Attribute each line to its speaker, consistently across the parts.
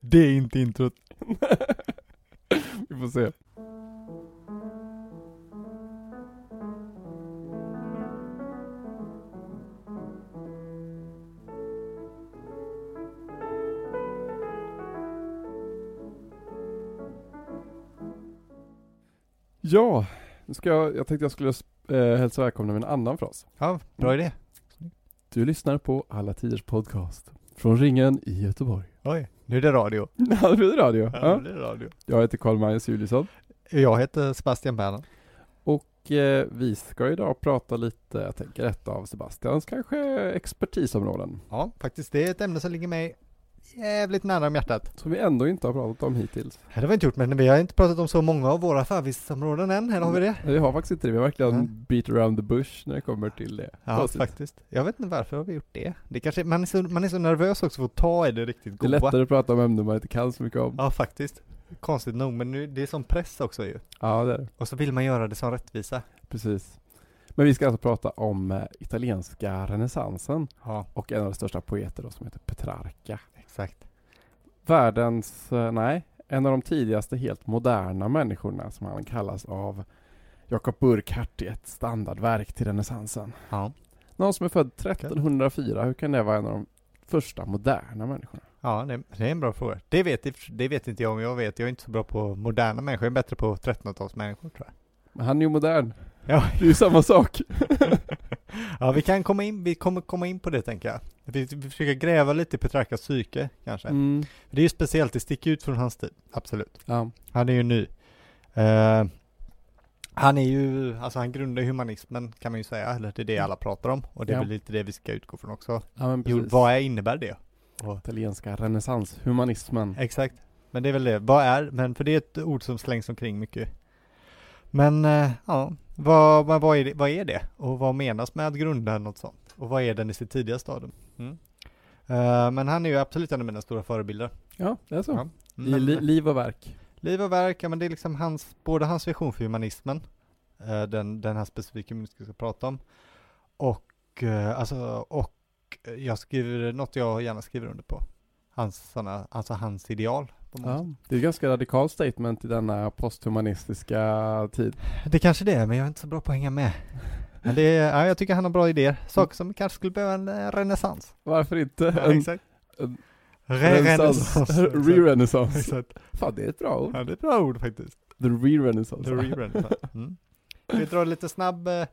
Speaker 1: Det är inte introt.
Speaker 2: Vi får se. Ja, nu ska jag, jag tänkte jag skulle eh, hälsa välkomna med en annan fras.
Speaker 1: Ja, bra idé.
Speaker 2: Du lyssnar på Alla Tiders Podcast från Ringen i Göteborg.
Speaker 1: Oj, nu är det radio.
Speaker 2: Ja, det blir radio.
Speaker 1: Ja,
Speaker 2: Ja.
Speaker 1: nu är det radio.
Speaker 2: Jag heter Carl-Magnus Juliusson
Speaker 1: Jag heter Sebastian Berner.
Speaker 2: och eh, vi ska idag prata lite, jag tänker ett av Sebastians kanske expertisområden
Speaker 1: Ja, faktiskt det är ett ämne som ligger mig jävligt nära om hjärtat.
Speaker 2: som vi ändå inte har pratat om hittills.
Speaker 1: Det har vi inte gjort, men vi har inte pratat om så många av våra förvistområden än. Här har vi det.
Speaker 2: Vi har faktiskt inte det, vi har verkligen
Speaker 1: Nej.
Speaker 2: beat around the bush när det kommer till det.
Speaker 1: Ja,
Speaker 2: avsnittet.
Speaker 1: faktiskt. Jag vet inte varför har vi gjort det. det kanske, man, är så, man är så nervös också för att ta i det riktigt
Speaker 2: Det
Speaker 1: goda.
Speaker 2: är lättare att prata om ämnen man inte kan så mycket om.
Speaker 1: Ja, faktiskt. Konstigt nog, men nu, det är som press också ju.
Speaker 2: Ja, det är det.
Speaker 1: Och så vill man göra det som rättvisa.
Speaker 2: Precis. Men vi ska alltså prata om eh, italienska renässansen
Speaker 1: Ja,
Speaker 2: och en av de största poeter då, som heter Petrarca.
Speaker 1: exakt.
Speaker 2: Världens, eh, nej, en av de tidigaste helt moderna människorna som han kallas av Jakob Burckhardt i ett standardverk till renässansen.
Speaker 1: Ja.
Speaker 2: Någon som är född 1304, hur kan det vara en av de första moderna människorna?
Speaker 1: Ja, det, det är en bra fråga. Det vet, i- det vet inte jag om jag vet. Jag är inte så bra på moderna människor. Jag är bättre på 1300-talsmänniskor tror jag.
Speaker 2: Men han är ju modern.
Speaker 1: Ja.
Speaker 2: Det är ju samma sak.
Speaker 1: Ja, vi kan komma in, vi kommer komma in på det tänker jag. Vi, vi försöker gräva lite i Petrarcas psyke kanske.
Speaker 2: Mm.
Speaker 1: Det är ju speciellt, det sticker ut från hans tid. Absolut.
Speaker 2: Ja.
Speaker 1: Han är ju ny. Eh, han är ju, alltså han grundar ju humanismen kan man ju säga, eller det är det alla pratar om. Och det är
Speaker 2: Mm. Ja.
Speaker 1: väl lite det vi ska utgå från också.
Speaker 2: ja, men
Speaker 1: Jo,
Speaker 2: precis.
Speaker 1: vad är, innebär det?
Speaker 2: Italienska renässanshumanismen.
Speaker 1: Exakt. Men det är väl det. Vad är, men för det är ett ord som slängs omkring mycket. Men eh, ja, vad, vad, vad, är det, vad är det? Och vad menas med att grunda något sånt? Och vad är den i sitt tidiga stadium? Mm. Eh, men han är ju absolut en av mina stora förebilder.
Speaker 2: Ja, det är så.
Speaker 1: Ja. Mm.
Speaker 2: I li- liv och verk.
Speaker 1: liv och verk, ja, men det är liksom hans, både hans vision för humanismen, eh, den, den här specifika humanismen vi ska prata om, och, eh, alltså, och eh, jag skriver, något jag gärna skriver under på. Hans, såna, alltså hans ideal. På många
Speaker 2: Ja. Det är ett ganska radikalt statement i denna posthumanistiska tid.
Speaker 1: Det kanske det är, men jag är inte så bra på att hänga med. Men det är, ja, jag tycker han har bra idéer. Saker som kanske skulle behöva en eh, renässans.
Speaker 2: Varför inte
Speaker 1: Ja,
Speaker 2: en
Speaker 1: exakt.
Speaker 2: en-
Speaker 1: Re-renässans. Exakt.
Speaker 2: Re-renässans.
Speaker 1: Exakt.
Speaker 2: Fan, det är ett bra ord.
Speaker 1: Ja, det är ett bra ord faktiskt.
Speaker 2: The
Speaker 1: The
Speaker 2: re-renässans.
Speaker 1: re-renässans. Mm. Vi drar lite snabb eh,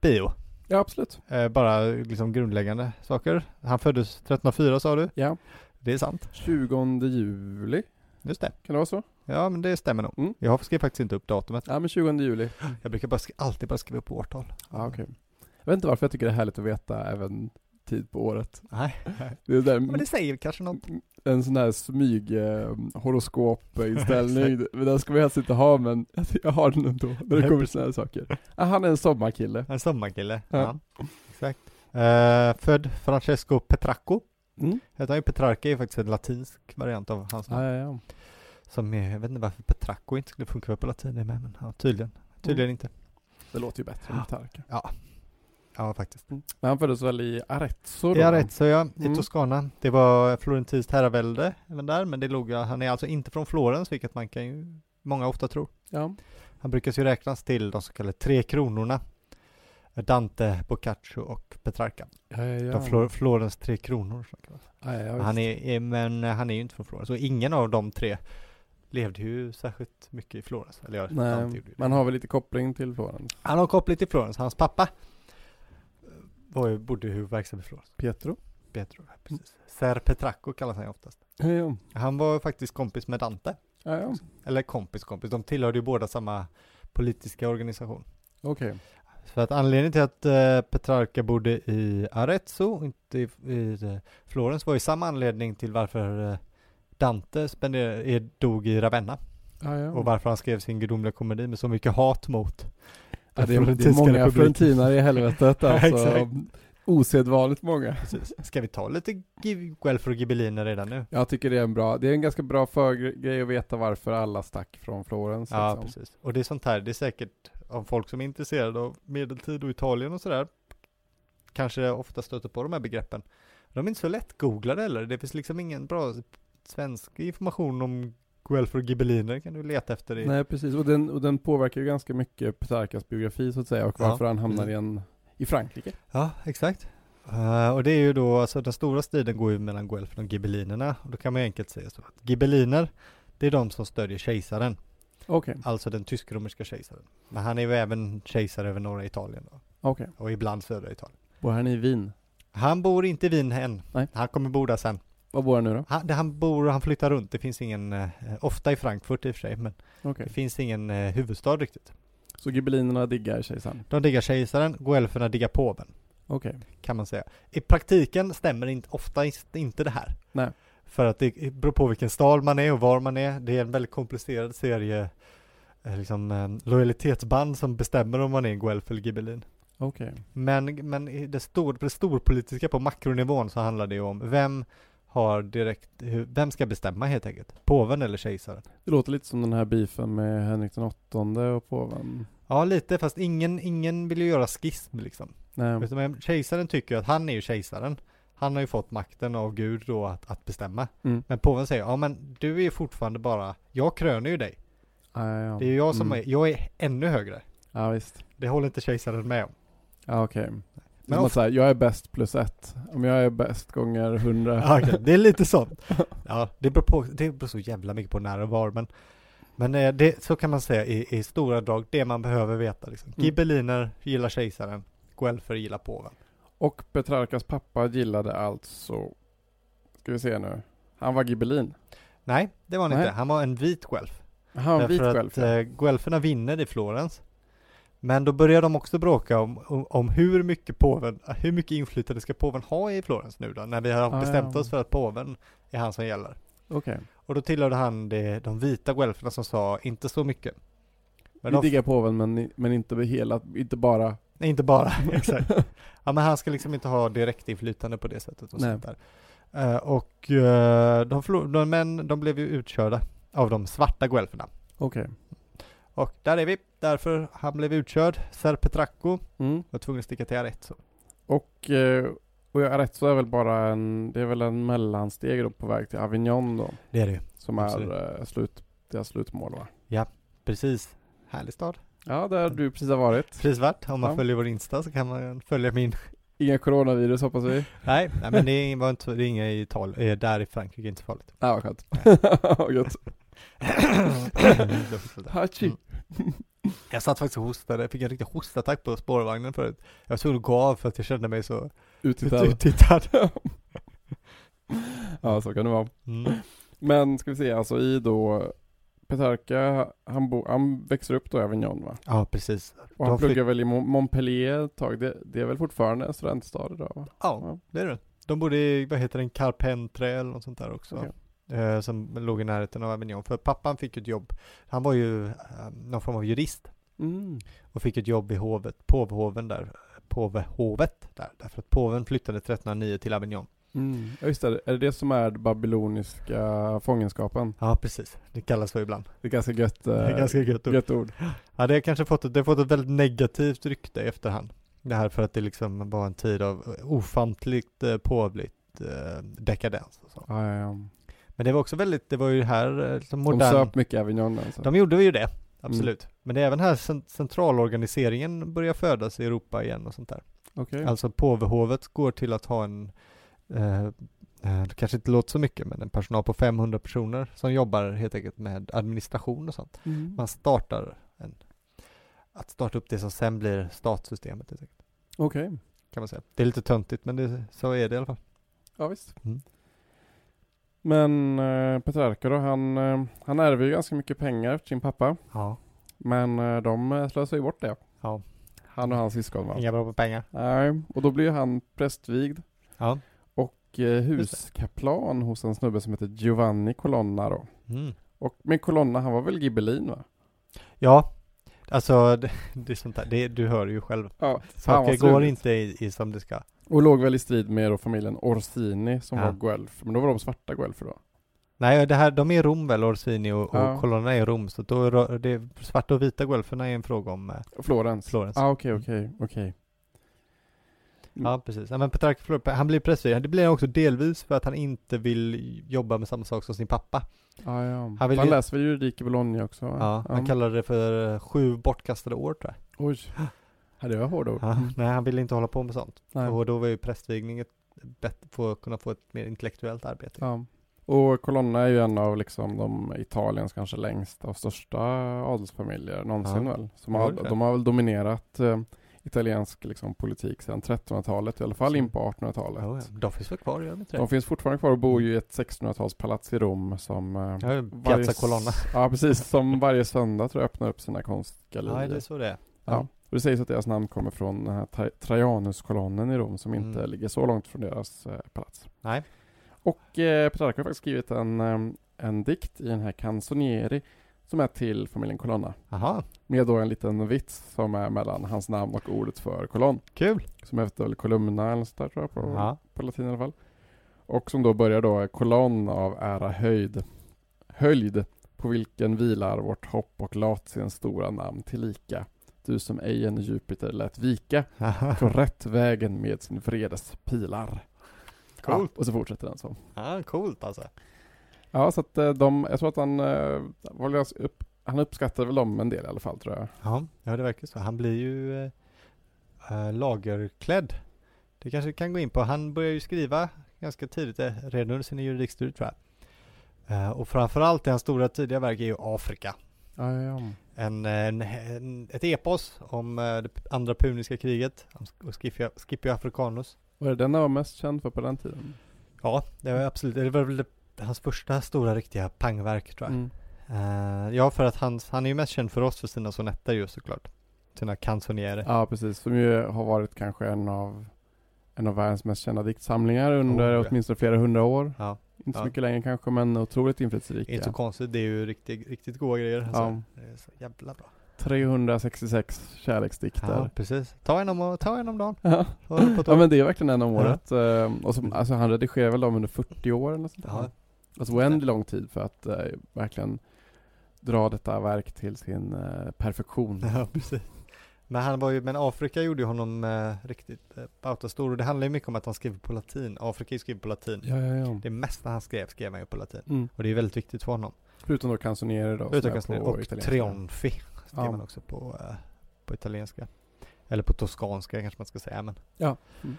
Speaker 1: bio.
Speaker 2: Ja, absolut.
Speaker 1: Eh, bara liksom grundläggande saker. Han föddes 1304 sa du.
Speaker 2: Ja.
Speaker 1: Det är sant.
Speaker 2: 20 juli,
Speaker 1: Just det.
Speaker 2: kan det vara så?
Speaker 1: Ja, men det stämmer nog.
Speaker 2: Mm.
Speaker 1: Jag skrev faktiskt inte upp datumet.
Speaker 2: Ja, men 20 juli.
Speaker 1: Jag brukar bara, sk- alltid bara skriva upp årtal.
Speaker 2: Ja, Ah, okej. Jag vet inte varför jag tycker det är härligt att veta även tid på året.
Speaker 1: Nej.
Speaker 2: Det är där,
Speaker 1: Men det säger kanske något.
Speaker 2: en sån här smyg eh, horoskopinställning, men den ska man helst inte ha men jag har den ändå när det
Speaker 1: Nej,
Speaker 2: kommer såna här saker. Ah, han är en sommarkille.
Speaker 1: En sommarkille.
Speaker 2: Ja.
Speaker 1: Ja. Exakt. Eh, född Francesco Petracco.
Speaker 2: Mm.
Speaker 1: Heter han ju Petrarca är ju faktiskt en latinsk variant av hans namn.
Speaker 2: Ja, ja, ja.
Speaker 1: Som är, jag vet inte varför Petracco inte skulle funka på latin, det är med, men ja, tydligen.
Speaker 2: Mm.
Speaker 1: Tydligen inte.
Speaker 2: Det låter ju bättre än Tarka.
Speaker 1: Ja, faktiskt.
Speaker 2: Men han föddes väl i Arezzo då?
Speaker 1: Ja, rätt så ja, i
Speaker 2: Mm.
Speaker 1: Toscana. Det var florentinskt herravälde även där, men det låg, han är alltså inte från Florens, vilket man kan ju, många ofta tror.
Speaker 2: Ja.
Speaker 1: Han brukar ju räknas till de så kallade tre kronorna. Dante, Boccaccio och Petrarca.
Speaker 2: Ja, ja, ja.
Speaker 1: De Flor- Florens tre kronor. Så kan man
Speaker 2: ja, ja, ja,
Speaker 1: Han
Speaker 2: visst.
Speaker 1: är, är, eh, men han är ju inte från Florens, så ingen av de tre levde ju särskilt mycket i Florens. Eller jag Dante
Speaker 2: Nej,
Speaker 1: gjorde ju det.
Speaker 2: man har väl lite koppling till Florens.
Speaker 1: Han har koppling till Florens, hans pappa eh, var ju, bodde ju verksam i Florens.
Speaker 2: Pietro?
Speaker 1: Pietro, ja, precis.
Speaker 2: Mm.
Speaker 1: Ser Petracco kallas han ju oftast.
Speaker 2: Ja, ja.
Speaker 1: Han var ju faktiskt kompis med Dante,
Speaker 2: ja, ja.
Speaker 1: eller kompis kompis, de tillhörde ju båda samma politiska organisation.
Speaker 2: Okej.
Speaker 1: Så att anledningen till att eh, Petrarca bodde i Arezzo, och inte i, i eh, Florens, var ju samma anledning till varför eh, Dante spenderade, är, dog i Ravenna.
Speaker 2: Ja, ja.
Speaker 1: Och varför han skrev sin gudomliga komedi med så mycket hat mot
Speaker 2: ja, det, är, det är
Speaker 1: Florentinska
Speaker 2: många
Speaker 1: republiken.
Speaker 2: florentinare i helvetet
Speaker 1: Ja,
Speaker 2: alltså.
Speaker 1: exakt.
Speaker 2: Osedvanligt många.
Speaker 1: Precis. Ska vi ta lite Gi- Guelfer och Ghibelliner redan nu?
Speaker 2: Jag tycker det är en bra, det är en ganska bra förgrej att veta varför alla stack från Florens.
Speaker 1: Ja,
Speaker 2: liksom.
Speaker 1: precis. Och det är sånt här, det är säkert av folk som är intresserade av medeltid och Italien och sådär, kanske ofta stöter på de här begreppen. De är inte så lätt googlade heller, det finns liksom ingen bra svensk information om Guelfer och Ghibelliner kan du leta efter i.
Speaker 2: Nej, precis. Och den, och den påverkar ju ganska mycket Petrarcas biografi så att säga och
Speaker 1: Ja, Mm.
Speaker 2: varför han hamnar
Speaker 1: precis.
Speaker 2: i, en, i Frankrike.
Speaker 1: Ja, exakt. Eh, och det är ju då, alltså den stora striden går ju mellan Guelfen och Ghibellinerna. Och då kan man ju enkelt säga så att Ghibelliner, det är de som stödjer kejsaren,
Speaker 2: Okej,
Speaker 1: alltså den tysk-romerska kejsaren. Men han är ju även kejsare över norra Italien då,
Speaker 2: okej.
Speaker 1: och ibland södra Italien.
Speaker 2: Bor han i Wien?
Speaker 1: Han bor inte i Wien än,
Speaker 2: Nej.
Speaker 1: han kommer bo där sen.
Speaker 2: Var bor han nu då?
Speaker 1: Han, där han bor, han flyttar runt, det finns ingen, eh, ofta i Frankfurt i och för sig, men
Speaker 2: Okej.
Speaker 1: det finns ingen eh, huvudstad riktigt.
Speaker 2: Så gibellinerna diggar kejsaren?
Speaker 1: De diggar kejsaren, guelferna diggar påven.
Speaker 2: Okej.
Speaker 1: kan man säga. I praktiken stämmer inte, ofta inte det här.
Speaker 2: Nej.
Speaker 1: För att det beror på vilken stad man är och var man är. Det är en väldigt komplicerad serie eh, liksom, eh, lojalitetsband som bestämmer om man är Guelph eller Ghibellin.
Speaker 2: Okej.
Speaker 1: Men, men i det, stor, på det storpolitiska på makronivån så handlar det ju om vem har direkt, hur- vem ska bestämma helt enkelt? Påven eller kejsaren?
Speaker 2: Det låter lite som den här beefen med Henrik den åttonde och påven.
Speaker 1: Ja, lite, fast ingen, ingen vill ju göra schism liksom.
Speaker 2: Nej.
Speaker 1: Utan men kejsaren tycker ju att han är ju kejsaren. Han har ju fått makten av Gud då att, att bestämma.
Speaker 2: Mm.
Speaker 1: Men påven säger, ja men du är ju fortfarande bara, jag kröner ju dig.
Speaker 2: Ah, ja, ja.
Speaker 1: Det är ju jag som
Speaker 2: Mm.
Speaker 1: är, jag är ännu högre.
Speaker 2: Ja, visst.
Speaker 1: Det håller inte kejsaren med om.
Speaker 2: Ja, okej.
Speaker 1: Men
Speaker 2: Men som att säga, jag är bäst plus ett. Om jag är bäst gånger hundra.
Speaker 1: Ja, okej, det är lite sånt. Ja, det beror, på, det beror så jävla mycket på när och var, men, men eh, det, så kan man säga i, i stora drag, det man behöver veta. Liksom.
Speaker 2: Mm.
Speaker 1: Ghibelliner gillar kejsaren, guelfer gillar påven.
Speaker 2: Och Petrarkas pappa gillade alltså, ska vi se nu, han var gibellin.
Speaker 1: Nej, det var han
Speaker 2: Nej.
Speaker 1: inte. Han var en vit guelf.
Speaker 2: Han var vit
Speaker 1: Därför
Speaker 2: själv.
Speaker 1: att eh, guelferna vinner i Florens. Men då börjar de också bråka om, om, om hur mycket påven, hur mycket inflytande ska påven ha i Florens nu då? När vi har
Speaker 2: ja.
Speaker 1: bestämt oss för att påven är han som gäller.
Speaker 2: Okej,
Speaker 1: Och då tillhörde han det, de vita guelferna som sa inte så mycket. Men
Speaker 2: vi
Speaker 1: de,
Speaker 2: diggar påven men, ni- men inte hela, inte bara.
Speaker 1: nej, inte bara, exakt. Ja men han ska liksom inte ha direktinflytande på det sättet och
Speaker 2: Nej.
Speaker 1: sånt där. Eh, och eh, de, förlor- de, men de blev ju utkörda av de svarta guelferna.
Speaker 2: Okej.
Speaker 1: Och där är vi, därför han blev utkörd. Ser Petracco
Speaker 2: Mm.
Speaker 1: var tvungen att sticka till R1 så.
Speaker 2: Och, eh, och jag är rätt så är väl bara en, det är väl en mellansteg då på väg till Avignon då.
Speaker 1: Det är det ju.
Speaker 2: Som
Speaker 1: Absolut.
Speaker 2: är eh, slut, deras slutmål va?
Speaker 1: Precis. Härlig stad.
Speaker 2: Ja, där du precis har varit.
Speaker 1: Prisvärt. Om man
Speaker 2: Ja.
Speaker 1: följer vår Insta så kan man följa min.
Speaker 2: Inga coronavirus hoppas vi.
Speaker 1: Nej, nej men det är- var inte, det är inga i tal, eh, där i Frankrike, inte så farligt.
Speaker 2: Ja, vad skönt. Gött. Hachi.
Speaker 1: Mm. jag satt faktiskt och hostade, jag fick en riktig hostattack på spårvagnen förut. Jag var tvungen att gå av för att jag kände mig så
Speaker 2: Uttittad.
Speaker 1: uttittad.
Speaker 2: Ja, så kan det vara.
Speaker 1: Mm.
Speaker 2: Men ska vi se, alltså i då Petrarca, han, bo, han växer upp då i Avignon va?
Speaker 1: Ja, precis.
Speaker 2: Och han
Speaker 1: De flytt-
Speaker 2: pluggar väl i Mon- Montpellier ett tag, det, det är väl fortfarande en studentstad idag va?
Speaker 1: Ja, det är det. De bodde i, vad heter den, Carpentre eller något sånt där också.
Speaker 2: Okej.
Speaker 1: Eh, som låg i närheten av Avignon. För pappan fick ju ett jobb. Han var ju eh, någon form av jurist
Speaker 2: Mm.
Speaker 1: och fick ett jobb i hovet, påvehoven där. Påvehovet där. Därför att påven flyttade 1309 till Avignon.
Speaker 2: Mm. Ja just det, är det det som är den babyloniska fångenskapen?
Speaker 1: Ja, precis. Det kallas så ibland.
Speaker 2: Det är ganska gött,
Speaker 1: Det är
Speaker 2: eh,
Speaker 1: ganska gött ord.
Speaker 2: gött ord.
Speaker 1: Ja, det har kanske fått, ett- det har fått ett väldigt negativt rykte i efterhand. Det här för att det liksom var en tid av ofantligt eh, påvligt eh, dekadens och så.
Speaker 2: Ja, ja, ja.
Speaker 1: Men det var också väldigt, det var ju här eh, liksom
Speaker 2: De
Speaker 1: modern...
Speaker 2: söp Mm. mycket i Avignon alltså.
Speaker 1: De gjorde ju det, absolut. Men det är även här cent- centralorganiseringen börjar födas i Europa igen och sånt där.
Speaker 2: Okej.
Speaker 1: Alltså påvehovet går till att ha en, eh, eh, det kanske inte låter så mycket, men en personal på 500 personer som jobbar helt enkelt med administration och sånt.
Speaker 2: Mm.
Speaker 1: Man startar en, att starta upp det som sen blir statssystemet helt enkelt,
Speaker 2: Okej,
Speaker 1: kan man säga. Det är lite töntigt, men det, så är det i alla fall.
Speaker 2: ja visst.
Speaker 1: Mm.
Speaker 2: Men eh, Petrarca då, han, eh, han ärver ju ganska mycket pengar efter sin pappa.
Speaker 1: Ja.
Speaker 2: Men eh, de eh, slösar ju bort det.
Speaker 1: Ja.
Speaker 2: Han och hans syskon va?
Speaker 1: Inga bra på pengar.
Speaker 2: Nej, och då blir han prästvigd
Speaker 1: Ja.
Speaker 2: och eh, huskaplan hos en snubbe som heter Giovanni Colonna då.
Speaker 1: Mm.
Speaker 2: Och, men Colonna, han var väl gibellin va?
Speaker 1: Ja, alltså det, det är sånt där, det, du hör ju själv.
Speaker 2: Ja, fan
Speaker 1: Saker
Speaker 2: vad
Speaker 1: går
Speaker 2: struligt.
Speaker 1: inte i, i som det ska.
Speaker 2: Och låg väl i strid med då familjen Orsini som
Speaker 1: Ja.
Speaker 2: var guelf, men då var de svarta guelfer då.
Speaker 1: Nej, det här, de är i Rom väl, Orsini och, och
Speaker 2: Ja.
Speaker 1: kolonna är i Rom, så då är ro- det, svarta och
Speaker 2: Mm.
Speaker 1: vita guelferna är en fråga om eh,
Speaker 2: Florens.
Speaker 1: Florens.
Speaker 2: Ah, okej, okej, okej.
Speaker 1: Ja, precis. Ja, men Petrarca förlorar- han blir prästvigd. Det blir han också delvis för att han inte vill jobba med samma sak som sin pappa.
Speaker 2: Ja, Ah, ja.
Speaker 1: Han
Speaker 2: Han,
Speaker 1: vill ju-
Speaker 2: läser väl juridik i Bologna också? va?
Speaker 1: Ja, han kallade det för eh, sju bortkastade år tror jag.
Speaker 2: Oj. Ja, det var hårda ord.
Speaker 1: Ja, nej, han ville inte hålla på med sånt.
Speaker 2: Nej.
Speaker 1: Och då var ju prästvigning ett bättre för att kunna få ett mer intellektuellt arbete.
Speaker 2: Ja. Och Colonna är ju en av liksom de Italiens kanske längsta och största adelsfamiljer någonsin
Speaker 1: Ja.
Speaker 2: väl. Som
Speaker 1: Ja,
Speaker 2: har,
Speaker 1: det är det.
Speaker 2: de har väl dominerat eh, italiensk liksom, politik sedan 1300-talet, i alla fall in på 1800-talet.
Speaker 1: Ja, ja. De finns väl kvar, gör de inte det?
Speaker 2: De finns fortfarande kvar och bor ju i ett 1600-talspalats i Rom som eh,
Speaker 1: Ja,
Speaker 2: varje
Speaker 1: Piazza
Speaker 2: s-
Speaker 1: Colonna.
Speaker 2: Ja, precis. Som varje söndag tror jag öppnar upp sina konstgallerier.
Speaker 1: Ja, det är så det är.
Speaker 2: Ja. Och det sägs att deras namn kommer från den här Tra- Trajanuskolonnen i Rom som inte
Speaker 1: Mm.
Speaker 2: ligger så långt från deras eh, palats.
Speaker 1: Nej.
Speaker 2: Och eh, Petrarca har faktiskt skrivit en, eh, en dikt i den här Canzonieri som är till familjen Colonna.
Speaker 1: Jaha,
Speaker 2: Med då en liten vits som är mellan hans namn och ordet för kolonn.
Speaker 1: kul.
Speaker 2: Som heter väl Columna eller sådär tror jag på,
Speaker 1: Ja.
Speaker 2: på latin i alla fall. Och som då börjar då kolonn av ära höjd. Höjd på vilken vilar vårt hopp och latiens stora namn tillika. Du som ej en Jupiter lät vika från rätt vägen med sin vredes pilar.
Speaker 1: Coolt.
Speaker 2: Ja, och så fortsätter den så.
Speaker 1: Ja, coolt alltså.
Speaker 2: Ja, så att eh, de, jag tror att han, eh, var väl ganska upp, han uppskattade väl dem en del i alla fall tror jag.
Speaker 1: Ja, ja det verkar så. Han blir ju eh, eh, lagerklädd. Det kanske vi kan gå in på. Han börjar ju skriva ganska tidigt, eh, redan under sina juridikstudier tror jag. Eh, och framförallt i hans stora tidiga verk är ju Afrika.
Speaker 2: Ja, ja, ja.
Speaker 1: En, eh, en, en, ett epos om eh, det andra puniska kriget, om Sk- och Scipio, Scipio Africanus.
Speaker 2: Var det den han var mest känd för på den tiden?
Speaker 1: Ja, det var absolut, det var väl det- hans första stora riktiga pangverk tror jag.
Speaker 2: Mm.
Speaker 1: Eh, ja, för att han, han är ju mest känd för oss för sina sonetter ju såklart. Sina canzonierer.
Speaker 2: Ja, precis. Som ju har varit kanske en av, en av världens mest kända diktsamlingar under
Speaker 1: Oh, ja.
Speaker 2: åtminstone flera hundra år.
Speaker 1: Ja.
Speaker 2: Inte så
Speaker 1: Ja.
Speaker 2: mycket längre kanske, men otroligt inflytelserika.
Speaker 1: Inte så konstigt, det är ju riktigt, riktigt goa grejer. Alltså. Det är så jävla bra.
Speaker 2: 366
Speaker 1: Ja,
Speaker 2: kärleksdikter.
Speaker 1: precis. Ta en om, ta en om dagen.
Speaker 2: Ja.
Speaker 1: Ta den på
Speaker 2: ja,
Speaker 1: tåg.
Speaker 2: men det är verkligen en om året. Eh, Och som, alltså, han redigerade väl dem under 40 år eller något sånt där.
Speaker 1: ja,
Speaker 2: Alltså oändligt lång tid för att eh, verkligen dra detta verk till sin eh, perfektion.
Speaker 1: ja, precis. Men han var ju, men Afrika gjorde ju honom eh, riktigt eh, bautastor och det handlar ju mycket om att han skrev på latin. Afrika är ju skrivet på latin.
Speaker 2: Ja, ja, ja.
Speaker 1: Det mesta han skrev, skrev han ju på latin.
Speaker 2: Mm.
Speaker 1: Och det är väldigt viktigt för honom.
Speaker 2: Förutom då canzoniere då. som
Speaker 1: Utan
Speaker 2: är
Speaker 1: kanske
Speaker 2: på
Speaker 1: och
Speaker 2: italienska.
Speaker 1: Trionfi skrev
Speaker 2: Ja.
Speaker 1: han också på, eh, på italienska. Eller på toskanska kanske man ska säga. Men,
Speaker 2: Ja. Mm.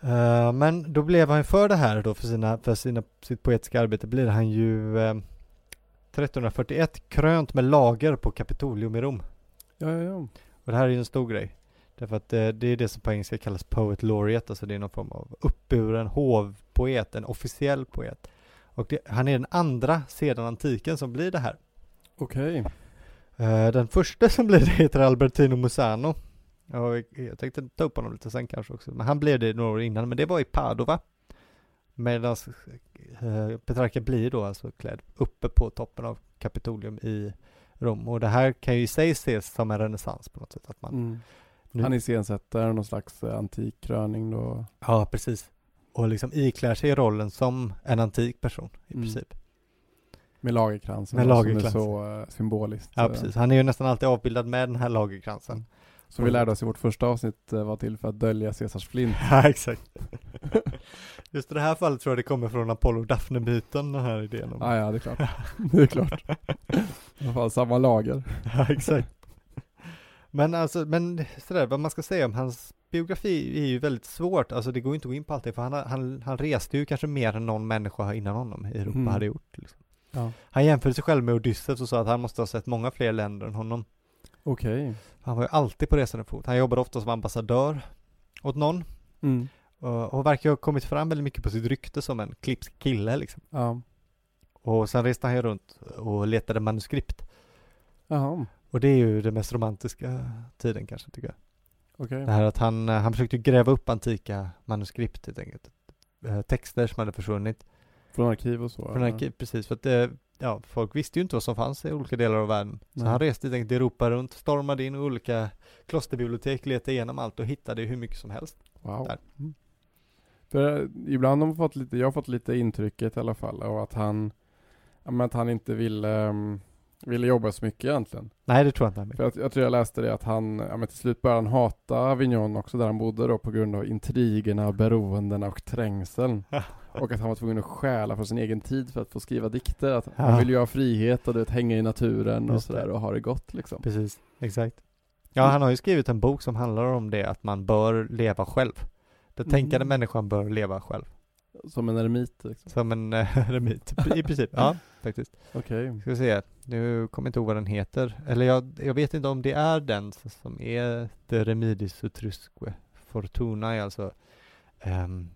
Speaker 1: Eh, men då blev han ju för det här då för, sina, för sina, sitt poetiska arbete blir han ju eh, 1341 krönt med lager på Kapitolium i Rom.
Speaker 2: Ja, ja, ja.
Speaker 1: Och det här är ju en stor grej. Därför att eh, det är det som på engelska kallas Poet Laureate, alltså det är någon form av uppburen hovpoet, en officiell poet. Och det, han är den andra sedan antiken som blir det här.
Speaker 2: Okej.
Speaker 1: Eh, Den första som blev det heter Albertino Musano. Ja, jag tänkte ta upp honom lite sen kanske också, men han blev det några år innan, men det var i Padova. Medan eh, Petrarca blir då alltså klädd uppe på toppen av Kapitolium i Rom. Och det här kan ju i sig ses som en renässans på något sätt. Att man,
Speaker 2: Mm.
Speaker 1: Nu-
Speaker 2: Han iscensätter någon slags eh, antik kröning då.
Speaker 1: Ja, precis. Och liksom iklär sig rollen som en antik person i
Speaker 2: Mm.
Speaker 1: princip.
Speaker 2: Med lagerkransen.
Speaker 1: Med
Speaker 2: då,
Speaker 1: lagerkransen.
Speaker 2: Som är så eh, symboliskt.
Speaker 1: Ja,
Speaker 2: eh,
Speaker 1: precis. Han är ju nästan alltid avbildad med den här lagerkransen.
Speaker 2: Som vi lärde oss i vårt första avsnitt eh, var till för att dölja Caesars flint.
Speaker 1: Ja, exakt. Just i det här fallet tror jag det kommer från Apollo och Daphne-myten, den här idén om.
Speaker 2: Ah, ja, det är klart. det är klart. I alla fall samma lager.
Speaker 1: Ja, exakt. Men alltså, men sådär, vad man ska säga om hans biografi är ju väldigt svårt, alltså det går ju inte att gå in på allting, för han, har- han, han reste ju kanske mer än någon människa innan honom i Europa
Speaker 2: Mm.
Speaker 1: hade gjort. Liksom.
Speaker 2: Ja.
Speaker 1: Han jämförde sig själv med Odysseus och sa att han måste ha sett många fler länder än honom.
Speaker 2: Okej.
Speaker 1: Han var ju alltid på resande fot, han jobbade ofta som ambassadör åt någon,
Speaker 2: Mm.
Speaker 1: och, och verkar ha kommit fram väldigt mycket på sitt rykte som en klipsk kille liksom.
Speaker 2: Ja.
Speaker 1: Och sen reste han ju runt och letade manuskript.
Speaker 2: Jaha.
Speaker 1: Och det är ju den mest romantiska tiden kanske tycker jag.
Speaker 2: Okej.
Speaker 1: Det här att han, eh, han försökte ju gräva upp antika manuskript helt enkelt. Eh, Texter som hade försvunnit.
Speaker 2: Från arkiv och så?
Speaker 1: Från
Speaker 2: eller?
Speaker 1: arkiv, precis, för att eh, ja, folk visste ju inte vad som fanns i olika delar av världen. Så
Speaker 2: Nej.
Speaker 1: han reste helt enkelt Europa runt, stormade in i olika klosterbibliotek, letade igenom allt och hittade ju hur mycket som helst.
Speaker 2: Wow.
Speaker 1: Där.
Speaker 2: Mm. För eh, ibland har man fått lite, jag har fått lite intrycket i alla fall, och att han, ja, men att han inte ville, ehm, ville jobba så mycket egentligen.
Speaker 1: Nej, det tror jag inte han vill.
Speaker 2: För jag, jag tror jag läste det att han, ja, men till slut började han hata Avignon också där han bodde då på grund av intrigerna, beroendena och trängseln. och att han var tvungen att stjäla från sin egen tid för att få skriva dikter. Att
Speaker 1: Ja.
Speaker 2: Han ville ju ha frihet och du vet, hänga i naturen och
Speaker 1: Just det.
Speaker 2: sådär och ha det gott liksom.
Speaker 1: Precis, exakt. Ja, han har ju skrivit en bok som handlar om det, att man bör leva själv. Den
Speaker 2: Mm.
Speaker 1: tänkande människan bör leva själv.
Speaker 2: Som en eremit liksom.
Speaker 1: Som en eh, eremit, i princip. Ja, faktiskt.
Speaker 2: Okej.
Speaker 1: Ska vi se, nu kommer jag inte ihåg vad den heter. Eller jag, jag vet inte om det är den s- som är The Remedis Utrusque. Fortuna är alltså ehm,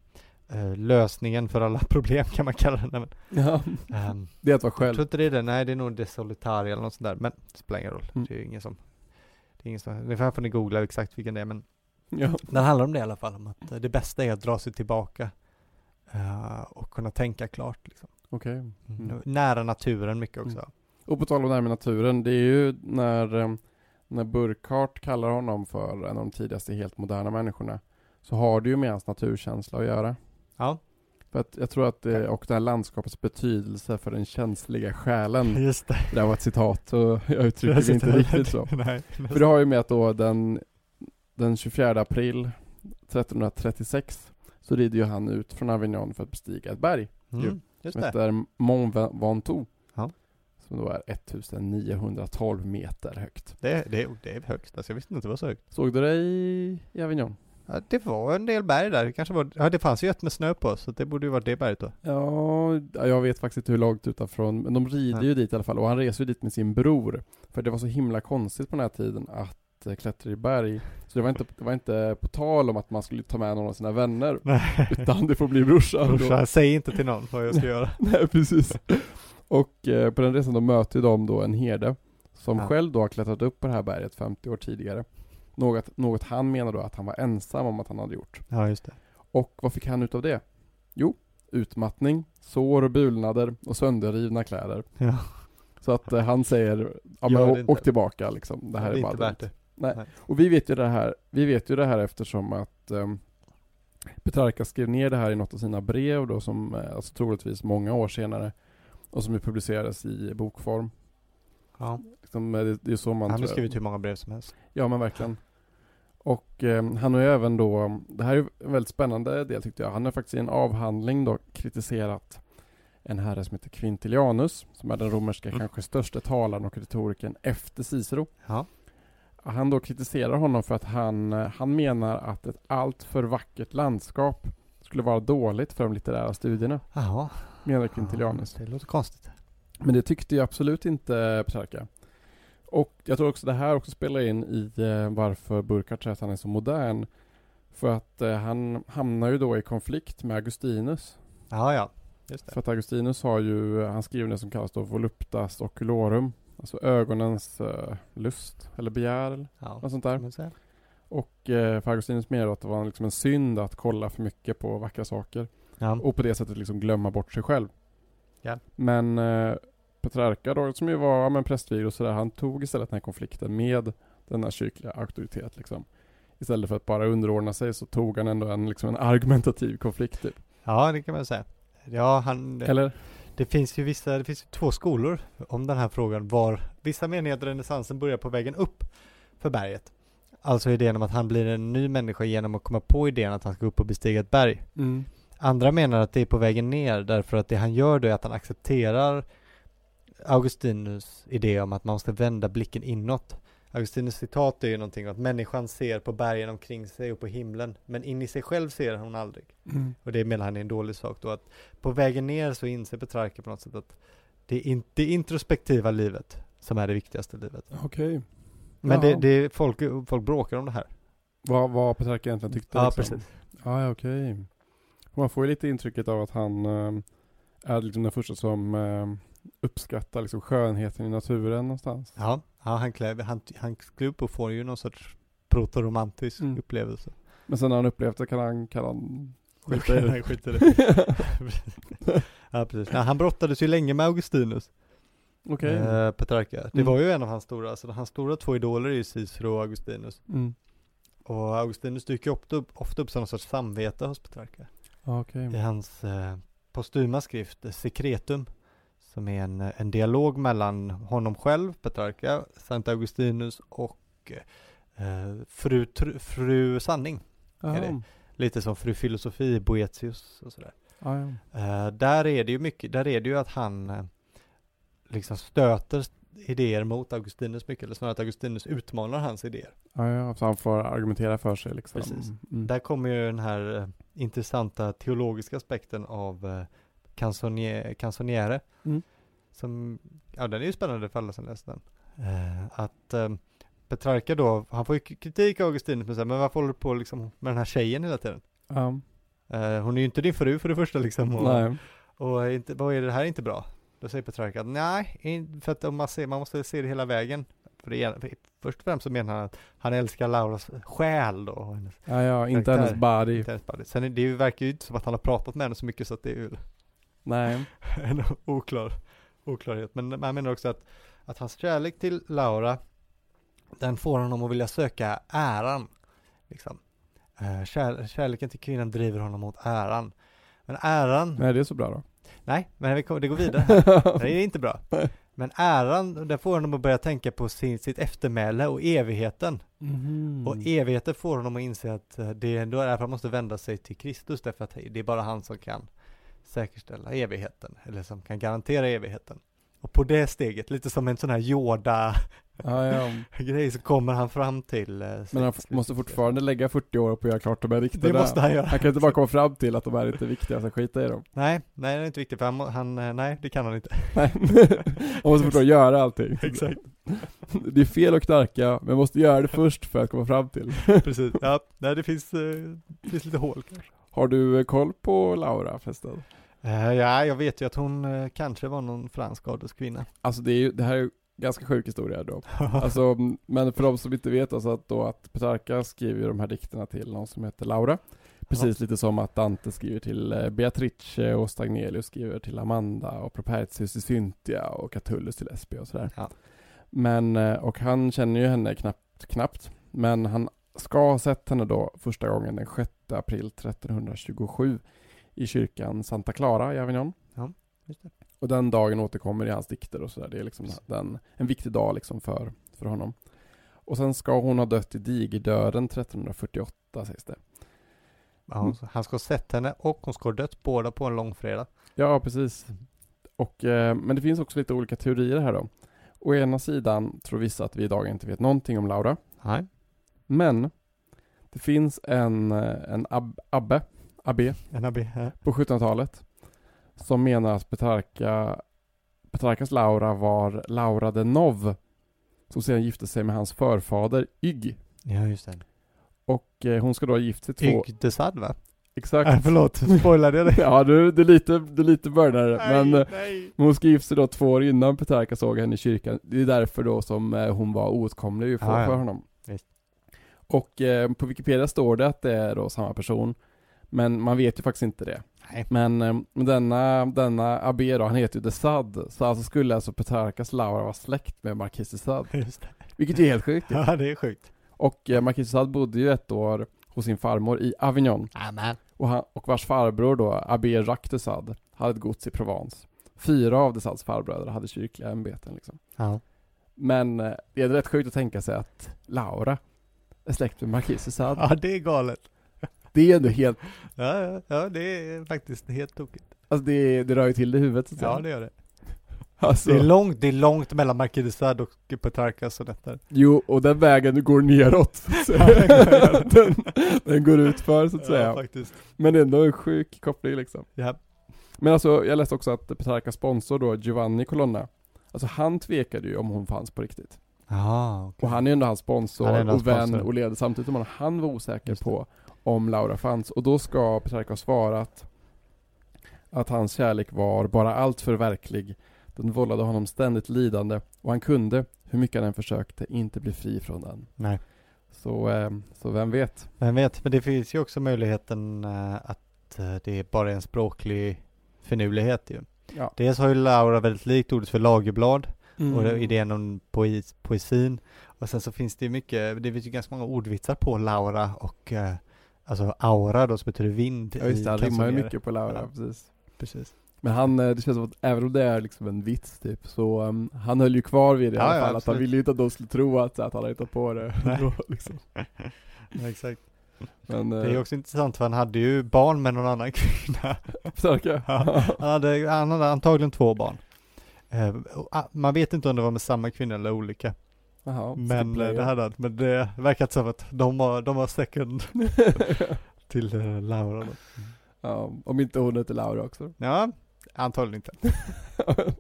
Speaker 1: eh, lösningen för alla problem kan man kalla den. Men,
Speaker 2: Ja.
Speaker 1: ehm,
Speaker 2: Det är att vara
Speaker 1: Jag
Speaker 2: själv.
Speaker 1: tror inte det är det, nej det är nog det solitaria eller något sånt där, men det spelar ingen roll.
Speaker 2: Mm.
Speaker 1: Det är ju ingen som, det är ingen som, det här får ni googla exakt vilken det är, men
Speaker 2: Ja.
Speaker 1: den handlar om det i alla fall, om att eh, det bästa är att dra sig tillbaka eh, och kunna tänka klart liksom.
Speaker 2: Okej.
Speaker 1: Nu- Nära naturen mycket också.
Speaker 2: Och på tal om det här med naturen, det är ju när, eh, när Burkhardt kallar honom för en av de tidigaste helt moderna människorna, så har det ju med hans naturkänsla att göra.
Speaker 1: Ja,
Speaker 2: För att jag tror att det, och det här landskapets betydelse för den känsliga själen,
Speaker 1: just det.
Speaker 2: det där var ett citat och jag uttrycker det inte riktigt så.
Speaker 1: nej,
Speaker 2: För det har ju med att då den, den 24 april 1336 så rider ju han ut från Avignon för att bestiga ett berg
Speaker 1: mm, just
Speaker 2: som
Speaker 1: det.
Speaker 2: heter Mont Ventoux.
Speaker 1: Ja.
Speaker 2: Som då är 1912 meter högt.
Speaker 1: Det, det, det är högst, alltså jag visste inte det var så högt.
Speaker 2: Såg du det i, i Avignon?
Speaker 1: Ja, det var en del berg där, det kanske var, ja det fanns ju ett med snö på, så det borde ju varit det berget då.
Speaker 2: Ja, jag vet faktiskt inte hur långt utanför, men de rider ju dit i alla fall. Och han reser ju dit med sin bror. För det var så himla konstigt på den här tiden att eh, klättra i berg. Så det var inte, det var inte på tal om att man skulle ta med någon av sina vänner.
Speaker 1: Nej,
Speaker 2: Utan det får bli brorsan. då.
Speaker 1: brorsan, säg inte till någon vad jag ska göra.
Speaker 2: Nej, precis. Och eh, på den resan då möter de då en herde som
Speaker 1: Ja.
Speaker 2: själv då har klättrat upp på det här berget 50 år tidigare. Något, något han menar då att han var ensam om att han hade gjort.
Speaker 1: Ja, just det.
Speaker 2: Och vad fick han ut av det? Jo, utmattning, sår och bulnader och sönderrivna kläder.
Speaker 1: Ja.
Speaker 2: Så att eh, han säger, ja
Speaker 1: Gör
Speaker 2: men
Speaker 1: det
Speaker 2: å-
Speaker 1: inte.
Speaker 2: åk tillbaka liksom. Det här
Speaker 1: det
Speaker 2: är
Speaker 1: är
Speaker 2: bara
Speaker 1: inte värt
Speaker 2: dumt.
Speaker 1: det.
Speaker 2: Och vi vet ju det här, vi vet ju det här eftersom att um, Petrarca skrev ner det här i något av sina brev då som, eh, alltså troligtvis många år senare, och som ju publicerades i bokform. Liksom, eh, det, det är så man
Speaker 1: Han har
Speaker 2: tror
Speaker 1: ju
Speaker 2: jag-
Speaker 1: skrivit hur många brev som helst.
Speaker 2: Ja men verkligen. Och eh, han har ju även då, det här är ju en väldigt spännande del tyckte jag, han har faktiskt i en avhandling då kritiserat en herre som heter Quintilianus, som är den romerska
Speaker 1: Mm.
Speaker 2: kanske största talaren och retorikern efter Cicero.
Speaker 1: Ja.
Speaker 2: Han då kritiserar honom för att han, eh, han menar att ett allt för vackert landskap skulle vara dåligt för de litterära studierna,
Speaker 1: Jaha. Ah.
Speaker 2: menar Quintilianus.
Speaker 1: Det låter konstigt.
Speaker 2: Men det tyckte ju absolut inte Petrarca. Och jag tror också det här också spelar in i eh, varför Burkhardt säger att han är så modern. För att eh, han hamnar ju då i konflikt med Augustinus.
Speaker 1: Ja, ja. Just det.
Speaker 2: För att Augustinus har ju, han skriver det som kallas då voluptas oculorum. Alltså ögonens eh, lust, eller begär, eller
Speaker 1: Ja.
Speaker 2: något sånt där.
Speaker 1: kan man säga.
Speaker 2: Och eh, för Augustinus menar att det var liksom en synd att kolla för mycket på vackra saker.
Speaker 1: Ja.
Speaker 2: Och på det sättet liksom glömma bort sig själv.
Speaker 1: Ja.
Speaker 2: Men eh, Petrarca då, som ju var ja, men prästvigd och sådär, han tog istället den här konflikten med denna kyrkliga auktoritet liksom. Istället för att bara underordna sig så tog han ändå en, liksom en argumentativ konflikt typ.
Speaker 1: ja, det kan man säga. Ja, han, det,
Speaker 2: Eller?
Speaker 1: det finns ju vissa, det finns ju två skolor om den här frågan var vissa menar ju att renässansen börjar på vägen upp för berget. Alltså idén om att han blir en ny människa genom att komma på idén att han ska upp och bestiga ett berg.
Speaker 2: Mm,
Speaker 1: Andra menar att det är på vägen ner därför att det han gör då är att han accepterar Augustinus idé om att man måste vända blicken inåt. Augustinus citat är ju någonting om att människan ser på bergen omkring sig och på himlen men in i sig själv ser hon aldrig. Och det menar han är en dålig sak då att på vägen ner så inser Petrarca på något sätt att det är inte det introspektiva livet som är det viktigaste livet.
Speaker 2: Okej.
Speaker 1: Men det,
Speaker 2: Ja.
Speaker 1: det är folk, folk bråkar om det här.
Speaker 2: Vad, vad Petrarca egentligen tyckte
Speaker 1: Ja,
Speaker 2: liksom.
Speaker 1: precis.
Speaker 2: Ja, ja, okej. Man får ju lite intrycket av att han eh, är liksom den första som eh, uppskattar liksom skönheten i naturen någonstans.
Speaker 1: Ja, ja han, klär, han, han klär upp och får ju någon sorts protoromantisk
Speaker 2: Mm.
Speaker 1: upplevelse.
Speaker 2: Men sen när han upplevt det kan han, kan han
Speaker 1: Skit i det. Skit i det. ja, precis. Nej, han brottades ju länge med Augustinus,
Speaker 2: Okej.
Speaker 1: eh, Petrarca. Det
Speaker 2: Mm.
Speaker 1: var ju en av hans stora, alltså hans stora två idoler är ju Cicero och Augustinus.
Speaker 2: Mm.
Speaker 1: Och Augustinus dyker ju ofta upp, ofta upp som någon sorts samvete hos Petrarca.
Speaker 2: Ja, okej.
Speaker 1: I hans eh, postuma skrift eh, Secretum så Som är en, en dialog mellan honom själv, Petrarca, Sankt Augustinus och eh, fru, tr, fru Sanning. Är det? Lite som fru filosofi, Boetius och sådär.
Speaker 2: Ja, ja.
Speaker 1: Eh, där är det ju mycket, där är det ju att han eh, liksom stöter idéer mot Augustinus mycket, eller snarare att Augustinus utmanar hans idéer.
Speaker 2: Ja, ja, så han får argumentera för sig liksom.
Speaker 1: Precis.
Speaker 2: Mm.
Speaker 1: Där kommer ju den här eh, intressanta teologiska aspekten av eh, canzonier- canzoniere.
Speaker 2: Mm.
Speaker 1: Som, ja den är ju spännande för alla som läser den. Eh, Att eh, Petrarca då, han får ju k- kritik av Augustinus, men, så här, men varför håller du på liksom med den här tjejen hela tiden?
Speaker 2: Ja.
Speaker 1: Eh, Hon är ju inte din fru för det första liksom. Och,
Speaker 2: Nej.
Speaker 1: och är inte, vad är det här är inte bra? Då säger Petrarca att nej, in- för att om man, ser, man måste se det hela vägen. För det, är- för- först och främst så menar han att han älskar Lauras själ då, och hennes,
Speaker 2: Ja, ja, inte
Speaker 1: Karaktär.
Speaker 2: hennes body.
Speaker 1: inte hennes body. Sen är, det ju- verkar ju inte som att han har pratat med henne så mycket så att det är ju
Speaker 2: Nej.
Speaker 1: en oklar, oklarhet. Men man menar också att, att hans kärlek till Laura, den får honom att vilja söka äran. Liksom. Eh, Kär, kärleken till kvinnan driver honom mot äran. Men äran,
Speaker 2: Nej, det är så bra då.
Speaker 1: nej, men vi kommer, det går vidare. Nej, det är inte bra. Men äran, den får honom att börja tänka på sin, sitt eftermäle och evigheten.
Speaker 2: Mhm.
Speaker 1: Och evigheten får honom att inse att eh, det är ändå därför han måste vända sig till Kristus, därför att det är bara han som kan säkerställa evigheten, eller som kan garantera evigheten. Och på det steget, lite som en sån här Yoda-grej,
Speaker 2: ja, ja.
Speaker 1: så kommer han fram till... eh, sitt
Speaker 2: Men han f-
Speaker 1: slutsteg.
Speaker 2: måste fortfarande lägga 40 år på att göra klart de här riktiga.
Speaker 1: Det måste han göra.
Speaker 2: Han kan inte bara komma fram till att de här inte är viktiga, så skita i dem.
Speaker 1: Nej, nej det är inte viktigt, för han, må- han eh, nej det kan han inte.
Speaker 2: Nej. Man måste fortfarande göra allting.
Speaker 1: Exakt,
Speaker 2: Det är fel att knarka, men måste göra det först för att komma fram till.
Speaker 1: precis. Ja, nej det finns, eh, det finns lite hål kanske.
Speaker 2: Har du eh, koll på Laura förresten?
Speaker 1: Eh, ja, jag vet ju att hon eh, kanske var någon fransk adelskvinna.
Speaker 2: Alltså det, är ju, det här är ju ganska sjuk historia då. Alltså, m- men för de som inte vet alltså att, då att Petrarca skriver ju de här dikterna till någon som heter Laura. Precis lite som att Dante skriver till eh, Beatrice och Stagnelius skriver till Amanda och Propertius till Cynthia och Catullus till Espia och sådär.
Speaker 1: Ja.
Speaker 2: Men, eh, och han känner ju henne knappt, knappt, men han ska ha sett henne då första gången den 6 april 1327 i kyrkan Santa Clara i Avignon.
Speaker 1: Ja, just det.
Speaker 2: Och den dagen återkommer i hans dikter och sådär. Det är liksom
Speaker 1: Precis.
Speaker 2: den, en viktig dag liksom för, för honom. Och sen ska hon ha dött i digerdöden 1348 sägs det.
Speaker 1: Ja, hon, han ska ha sett henne och hon ska ha dött båda på en långfredag.
Speaker 2: Ja, precis.
Speaker 1: Mm.
Speaker 2: Och, eh, men det finns också lite olika teorier här då. Å ena sidan tror vissa att vi idag inte vet någonting om Laura.
Speaker 1: Nej.
Speaker 2: Men det finns en, eh, en ab, abbe, abbe
Speaker 1: En abbe här.
Speaker 2: på 1700-talet som menar att Petrarca, Petrarcas Laura var Laura de Nov som sedan gifte sig med hans förfader Ygg.
Speaker 1: Ja, just det.
Speaker 2: Och eh, hon ska då ha gift sig två...
Speaker 1: Yggdesad va?
Speaker 2: Exakt.
Speaker 1: Äh, förlåt, spoilade jag dig?
Speaker 2: Ja, du, du är lite, du är lite burnare. Men eh,
Speaker 1: nej.
Speaker 2: hon ska gifta sig då två år innan Petrarca såg henne i kyrkan. Det är därför då som eh, hon var oåtkomlig ju för,
Speaker 1: Ah, ja.
Speaker 2: för honom.
Speaker 1: Visst.
Speaker 2: Och eh, på Wikipedia står det att det är då samma person. Men man vet ju faktiskt inte det.
Speaker 1: Nej.
Speaker 2: Men eh, denna, denna abbé då, han heter ju de Sade. Så alltså skulle alltså Petrarcas Laura vara släkt med Marquis de Sade.
Speaker 1: Just det.
Speaker 2: Vilket är helt sjukt.
Speaker 1: Ja, det är sjukt.
Speaker 2: Och eh, Marquis de Sade bodde ju ett år hos sin farmor i Avignon.
Speaker 1: Amen.
Speaker 2: och, han, och vars farbror då, abbé Jacques de Sade, hade ett gods i Provence. Fyra av de Sades farbröder hade kyrkliga ämbeten liksom.
Speaker 1: Ja.
Speaker 2: Men eh, det är rätt sjukt att tänka sig att Laura är släkt med Marquis de Sade.
Speaker 1: ja, det är galet.
Speaker 2: Det är ändå helt,
Speaker 1: Ja, ja, ja, det är faktiskt helt tokigt.
Speaker 2: alltså det, det rör ju till det i huvudet så att
Speaker 1: Ja,
Speaker 2: säga.
Speaker 1: det gör det.
Speaker 2: alltså,
Speaker 1: Det är långt, det är långt mellan Marquis de Sade och Petrarcas sonetter.
Speaker 2: Jo, och den vägen går neråt. så att säga.
Speaker 1: Ja,
Speaker 2: den, den går ut för så att
Speaker 1: Ja,
Speaker 2: säga.
Speaker 1: faktiskt.
Speaker 2: Men det är ändå en sjuk koppling liksom.
Speaker 1: Ja.
Speaker 2: Men alltså, jag läste också att Petrarcas sponsor då, Giovanni Colonna, alltså han tvekade ju om hon fanns på riktigt.
Speaker 1: Jaha,
Speaker 2: Och han är ändå hans sponsor
Speaker 1: Han är ändå hans
Speaker 2: och vän
Speaker 1: sponsor.
Speaker 2: och leder samtidigt som han var osäker
Speaker 1: Just det.
Speaker 2: på om Laura fanns. Och då ska Petrarca ha svarat att hans kärlek var bara allt för verklig. Den vållade honom ständigt lidande och han kunde, hur mycket han än försökte, inte bli fri från den.
Speaker 1: Nej.
Speaker 2: Så, eh, så vem vet?
Speaker 1: Vem vet, men det finns ju också möjligheten eh, att eh, det är bara är en språklig finurlighet ju.
Speaker 2: Ja.
Speaker 1: Dels har ju Laura väldigt likt ordet för lagerblad och
Speaker 2: Mm.
Speaker 1: det- idén om poe poesin. Och sen så finns det ju mycket, det finns ju ganska många ordvitsar på Laura och eh, alltså aura då som betyder vind.
Speaker 2: Ja just det,
Speaker 1: i
Speaker 2: han rimmar ju
Speaker 1: canzoniere.
Speaker 2: mycket på Laura,
Speaker 1: Ja.
Speaker 2: precis.
Speaker 1: Precis.
Speaker 2: Men han, eh, det känns som att även om det är liksom en vits typ, så um, han höll ju kvar vid det i
Speaker 1: Ja,
Speaker 2: alla
Speaker 1: ja,
Speaker 2: fall. att han
Speaker 1: absolut.
Speaker 2: ville ju inte att de skulle tro att, att han hade hittat på det.
Speaker 1: Nej.
Speaker 2: Då, liksom.
Speaker 1: Ja, exakt.
Speaker 2: Men,
Speaker 1: Det är ju
Speaker 2: eh,
Speaker 1: också intressant för han hade ju barn med någon annan kvinna.
Speaker 2: starka.
Speaker 1: Ja. Han hade, han hade antagligen två barn. Eh, och, ah, Man vet inte om det var med samma kvinna eller olika.
Speaker 2: Jaha,
Speaker 1: Men eh,
Speaker 2: stipplar.
Speaker 1: det hade han. Men det verkar som att de har, de har second till eh, Laura då.
Speaker 2: ja, om inte hon heter Laura också.
Speaker 1: Ja, antagligen inte. Man
Speaker 2: Men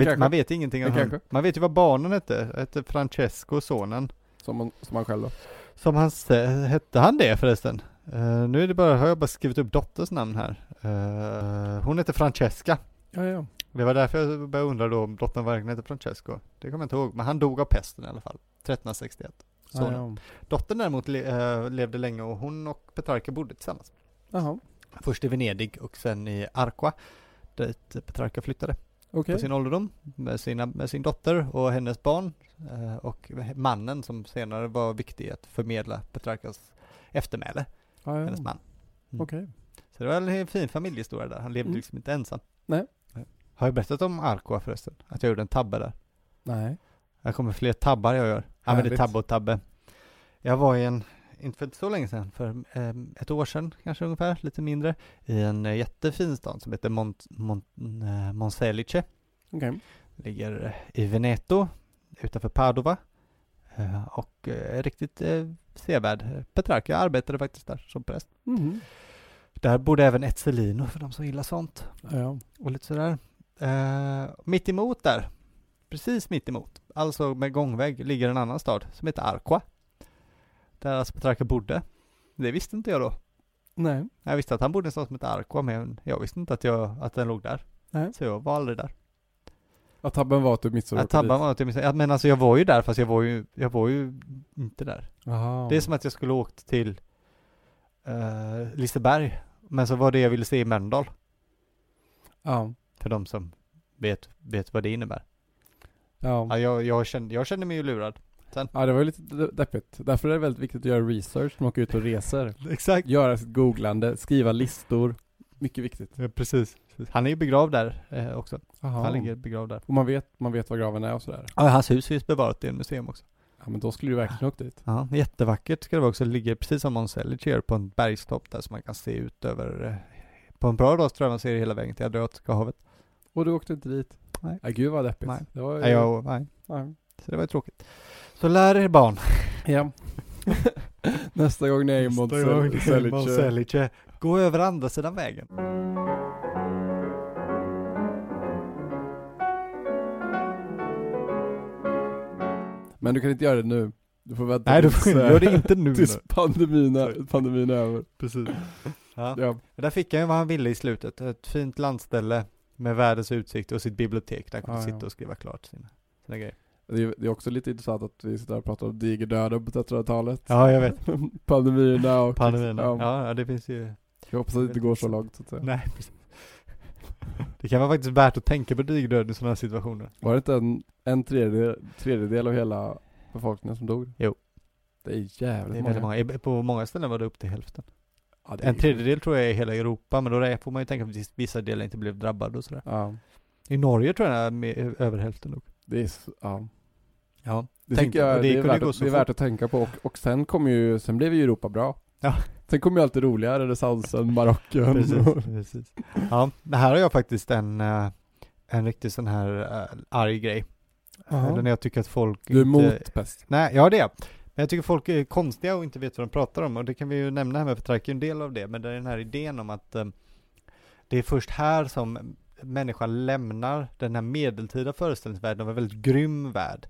Speaker 1: vet,
Speaker 2: kanske.
Speaker 1: man vet ingenting om
Speaker 2: Men
Speaker 1: han.
Speaker 2: kanske.
Speaker 1: Man vet ju vad barnen hette. Hette Francesco, sonen.
Speaker 2: Som, man, som han själv då.
Speaker 1: Som han, se- hette han det förresten? Eh, nu är det bara, har jag bara skrivit upp dotters namn här. Eh, hon heter Francesca.
Speaker 2: Ja, ja.
Speaker 1: Det var därför jag började undra då om dottern verkligen hette Francesco. Det kommer jag inte ihåg, men han dog av pesten i alla fall. 1361. Sonen.
Speaker 2: ja.
Speaker 1: Dottern däremot le, eh, levde länge och hon och Petrarca bodde tillsammans.
Speaker 2: Jaha,
Speaker 1: Först i Venedig och sen i Arqua, dit Petrarca flyttade
Speaker 2: okej.
Speaker 1: på sin ålderdom med, sina, med sin dotter och hennes barn eh, och mannen som senare var viktig att förmedla Petrarcas eftermäle,
Speaker 2: Ja, ja.
Speaker 1: hennes Mm. man.
Speaker 2: Okej.
Speaker 1: Så det var en fin familjehistoria där, han levde
Speaker 2: Mm.
Speaker 1: liksom inte ensam.
Speaker 2: Nej.
Speaker 1: Har jag berättat om Arqua förresten? Att jag gjorde en tabbe där?
Speaker 2: Nej.
Speaker 1: Här kommer fler tabbar jag gör. Ja men det är
Speaker 2: Härligt.
Speaker 1: tabbe och tabbe. Jag var i en, inte för så länge sedan, för eh, ett år sedan kanske ungefär, lite mindre, i en eh, jättefin stad som heter Mont, Mont, eh, Monselice.
Speaker 2: Okej.
Speaker 1: Ligger eh, i Veneto, utanför Padova. Eh, Och eh, riktigt eh, sevärd. Petrarca arbetade faktiskt där som präst.
Speaker 2: Mhm.
Speaker 1: Där bodde även Etzelino för de som gillar sånt
Speaker 2: Ja, ja.
Speaker 1: och lite sådär. Eh, mitt emot där, precis mitt emot, alltså med gångväg, ligger en annan stad som heter Arqua. Där alltså Petrarca bodde. Det visste inte jag då.
Speaker 2: Nej.
Speaker 1: Jag visste att han bodde i en stad som heter Arqua, men jag visste inte att, jag, att den låg där.
Speaker 2: Nej.
Speaker 1: Så jag var aldrig där.
Speaker 2: Ja, tabben var typ att du missade
Speaker 1: Jag tabbade mig, till min- ja, men alltså jag var ju där fast jag var ju, jag var ju inte där.
Speaker 2: Aha.
Speaker 1: Det är som att jag skulle ha åkt till eh, Liseberg, men så var det jag ville se i Mölndal,
Speaker 2: Ja.
Speaker 1: för de som vet, vet vad det innebär.
Speaker 2: Ja.
Speaker 1: Ja, jag, jag, kände, jag kände mig ju lurad.
Speaker 2: ja, det var ju lite de- deppigt. Därför är det väldigt viktigt att göra research när man åker ut och reser.
Speaker 1: Exakt.
Speaker 2: Göra sitt googlande, skriva listor. Mycket viktigt.
Speaker 1: precis. Han är ju begravd där eh, också.
Speaker 2: Aha.
Speaker 1: Han ligger begravd där.
Speaker 2: Och man vet, man vet var graven är och sådär.
Speaker 1: Ja, hans hus finns bevarat i ett museum också.
Speaker 2: Ja men då skulle du verkligen åkt dit.
Speaker 1: Ja, jättevackert ska det vara också. Det ligger precis som Mons Elice gör på en bergstopp där som man kan se ut över eh, på en bra dag så tror jag man ser hela vägen till Adriatiska havet.
Speaker 2: Och du åkte inte dit.
Speaker 1: Nej.
Speaker 2: Ja, gud vad deppigt.
Speaker 1: Nej.
Speaker 2: Det var ju...
Speaker 1: Nej, jag, nej.
Speaker 2: Nej.
Speaker 1: Så det var ju tråkigt. Så lär er barn.
Speaker 2: Ja. Nästa gång ni är i Montselice.
Speaker 1: Monselice. Gå över andra sidan vägen.
Speaker 2: Men du kan inte göra det nu. Du får vänta
Speaker 1: Nej, du
Speaker 2: tills,
Speaker 1: får
Speaker 2: eh,
Speaker 1: gör det inte nu.
Speaker 2: tills pandemin är, pandemin är över.
Speaker 1: Precis. Ja.
Speaker 2: Ja.
Speaker 1: Men Där fick han ju vad han ville i slutet, ett fint landställe med världens utsikt och sitt bibliotek där han kunde
Speaker 2: Ja, ja.
Speaker 1: sitta och skriva klart sina, sina grejer.
Speaker 2: Det, är, det är också lite intressant att vi sitter här och pratar om digerdöden på 1300-talet.
Speaker 1: Ja, jag vet.
Speaker 2: Pandemirna och...
Speaker 1: Pandemin.
Speaker 2: Ja.
Speaker 1: Ja, ja, det finns ju.
Speaker 2: Jag hoppas att det inte går så långt så att säga.
Speaker 1: Nej, precis. Det kan vara faktiskt värt att tänka på digerdöden i sådana här situationer.
Speaker 2: Var det inte en, en tredjedel, tredjedel av hela befolkningen som dog?
Speaker 1: Jo.
Speaker 2: Det är
Speaker 1: Det
Speaker 2: jävligt
Speaker 1: är
Speaker 2: många.
Speaker 1: väldigt många. I- På många ställen var det upp till hälften.
Speaker 2: Ja, det är-
Speaker 1: En tredjedel tror jag är i hela Europa, men då där får man ju tänka på att vissa delar inte blev drabbade och sådär.
Speaker 2: Ja.
Speaker 1: I Norge tror jag det är med- över hälften nog.
Speaker 2: Det är, s- ja.
Speaker 1: Ja.
Speaker 2: Det
Speaker 1: Tänk-
Speaker 2: tycker jag
Speaker 1: och det
Speaker 2: det är,
Speaker 1: kunde
Speaker 2: värt,
Speaker 1: gå
Speaker 2: att-
Speaker 1: så
Speaker 2: det är värt att tänka på och, och sen kom ju, sen blev ju Europa bra.
Speaker 1: Ja.
Speaker 2: Sen kom ju allt det roliga, renässansen, Marocken.
Speaker 1: Precis, precis. Ja, det här har jag faktiskt en, eh, en riktig sån här eh, arg grej.
Speaker 2: Jaha.
Speaker 1: Eller när jag tycker att folk
Speaker 2: Du är
Speaker 1: inte...
Speaker 2: mot pest.
Speaker 1: Nej, ja det är jag. Men jag tycker folk är konstiga och inte vet vad de pratar om och det kan vi ju nämna här med Petrarca är en del av det, men det är den här idén om att eh, det är först här som människan lämnar den här medeltida föreställningsvärlden av en väldigt grym värld.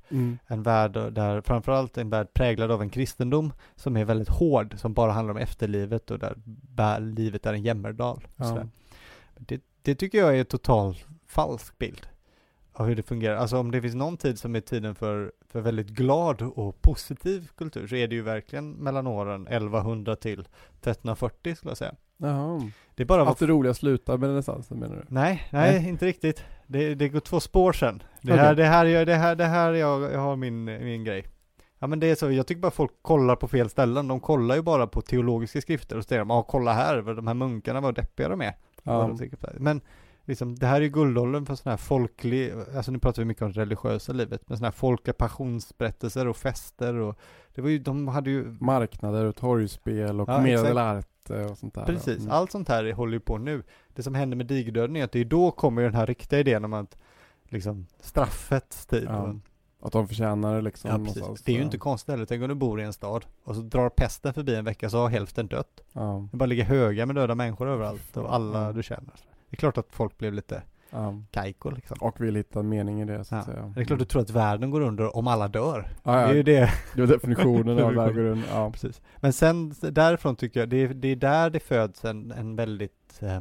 Speaker 1: En värld där framförallt en värld präglad av en kristendom som är väldigt hård, som bara handlar om efterlivet och där bär- livet är en jämmerdal. och
Speaker 2: Ja.
Speaker 1: sådär. Det, det tycker jag är en total falsk bild av hur det fungerar. Alltså om det finns någon tid som är tiden för, för väldigt glad och positiv kultur så är det ju verkligen mellan åren 1100 till 1340 skulle jag säga.
Speaker 2: Jaha.
Speaker 1: Det är bara
Speaker 2: Allt det roliga slutar med renässansen menar du?
Speaker 1: Nej, nej, inte riktigt. Det, det går två spår sen. Det
Speaker 2: Okej.
Speaker 1: här, det här, jag, det här, det här jag, jag har min, min grej. Ja men det är så, jag tycker bara folk kollar på fel ställen. De kollar ju bara på teologiska skrifter och säger ja kolla här, vad de här munkarna, vad deppiga de är.
Speaker 2: Ja.
Speaker 1: Vad de tycker. Men liksom, det här är ju guldåldern för sån här folklig, alltså nu pratar vi mycket om det religiösa livet, men sån här folkliga passionsberättelser och fester och det var ju, de hade ju,
Speaker 2: Marknader och torgspel och
Speaker 1: Ja,
Speaker 2: medelarte och sånt där.
Speaker 1: precis,
Speaker 2: Mm.
Speaker 1: allt sånt här håller ju på nu. Det som händer med digdöden är att det är då kommer ju den här riktiga idén om att, liksom, straffets tid.
Speaker 2: Ja,
Speaker 1: Och-
Speaker 2: Att de förtjänar det liksom.
Speaker 1: Ja, precis.
Speaker 2: någonstans.
Speaker 1: Det är ju inte konstigt heller, tänk om du bor i en stad och så drar pesten förbi en vecka så har hälften dött.
Speaker 2: Ja,
Speaker 1: Det bara ligger höga med döda människor överallt och alla
Speaker 2: Mm.
Speaker 1: du känner. Det är klart att folk blev lite
Speaker 2: ja.
Speaker 1: kajko liksom.
Speaker 2: Och vill hitta mening i det så att
Speaker 1: Ja.
Speaker 2: säga.
Speaker 1: Det är klart du tror att världen går under om alla dör.
Speaker 2: Mm. Ja, ja,
Speaker 1: Det är ju det.
Speaker 2: det var definitionen av
Speaker 1: Definition.
Speaker 2: världen. Ja.
Speaker 1: Precis. Men sen därifrån tycker jag, det är, det är där det föds en, en väldigt eh,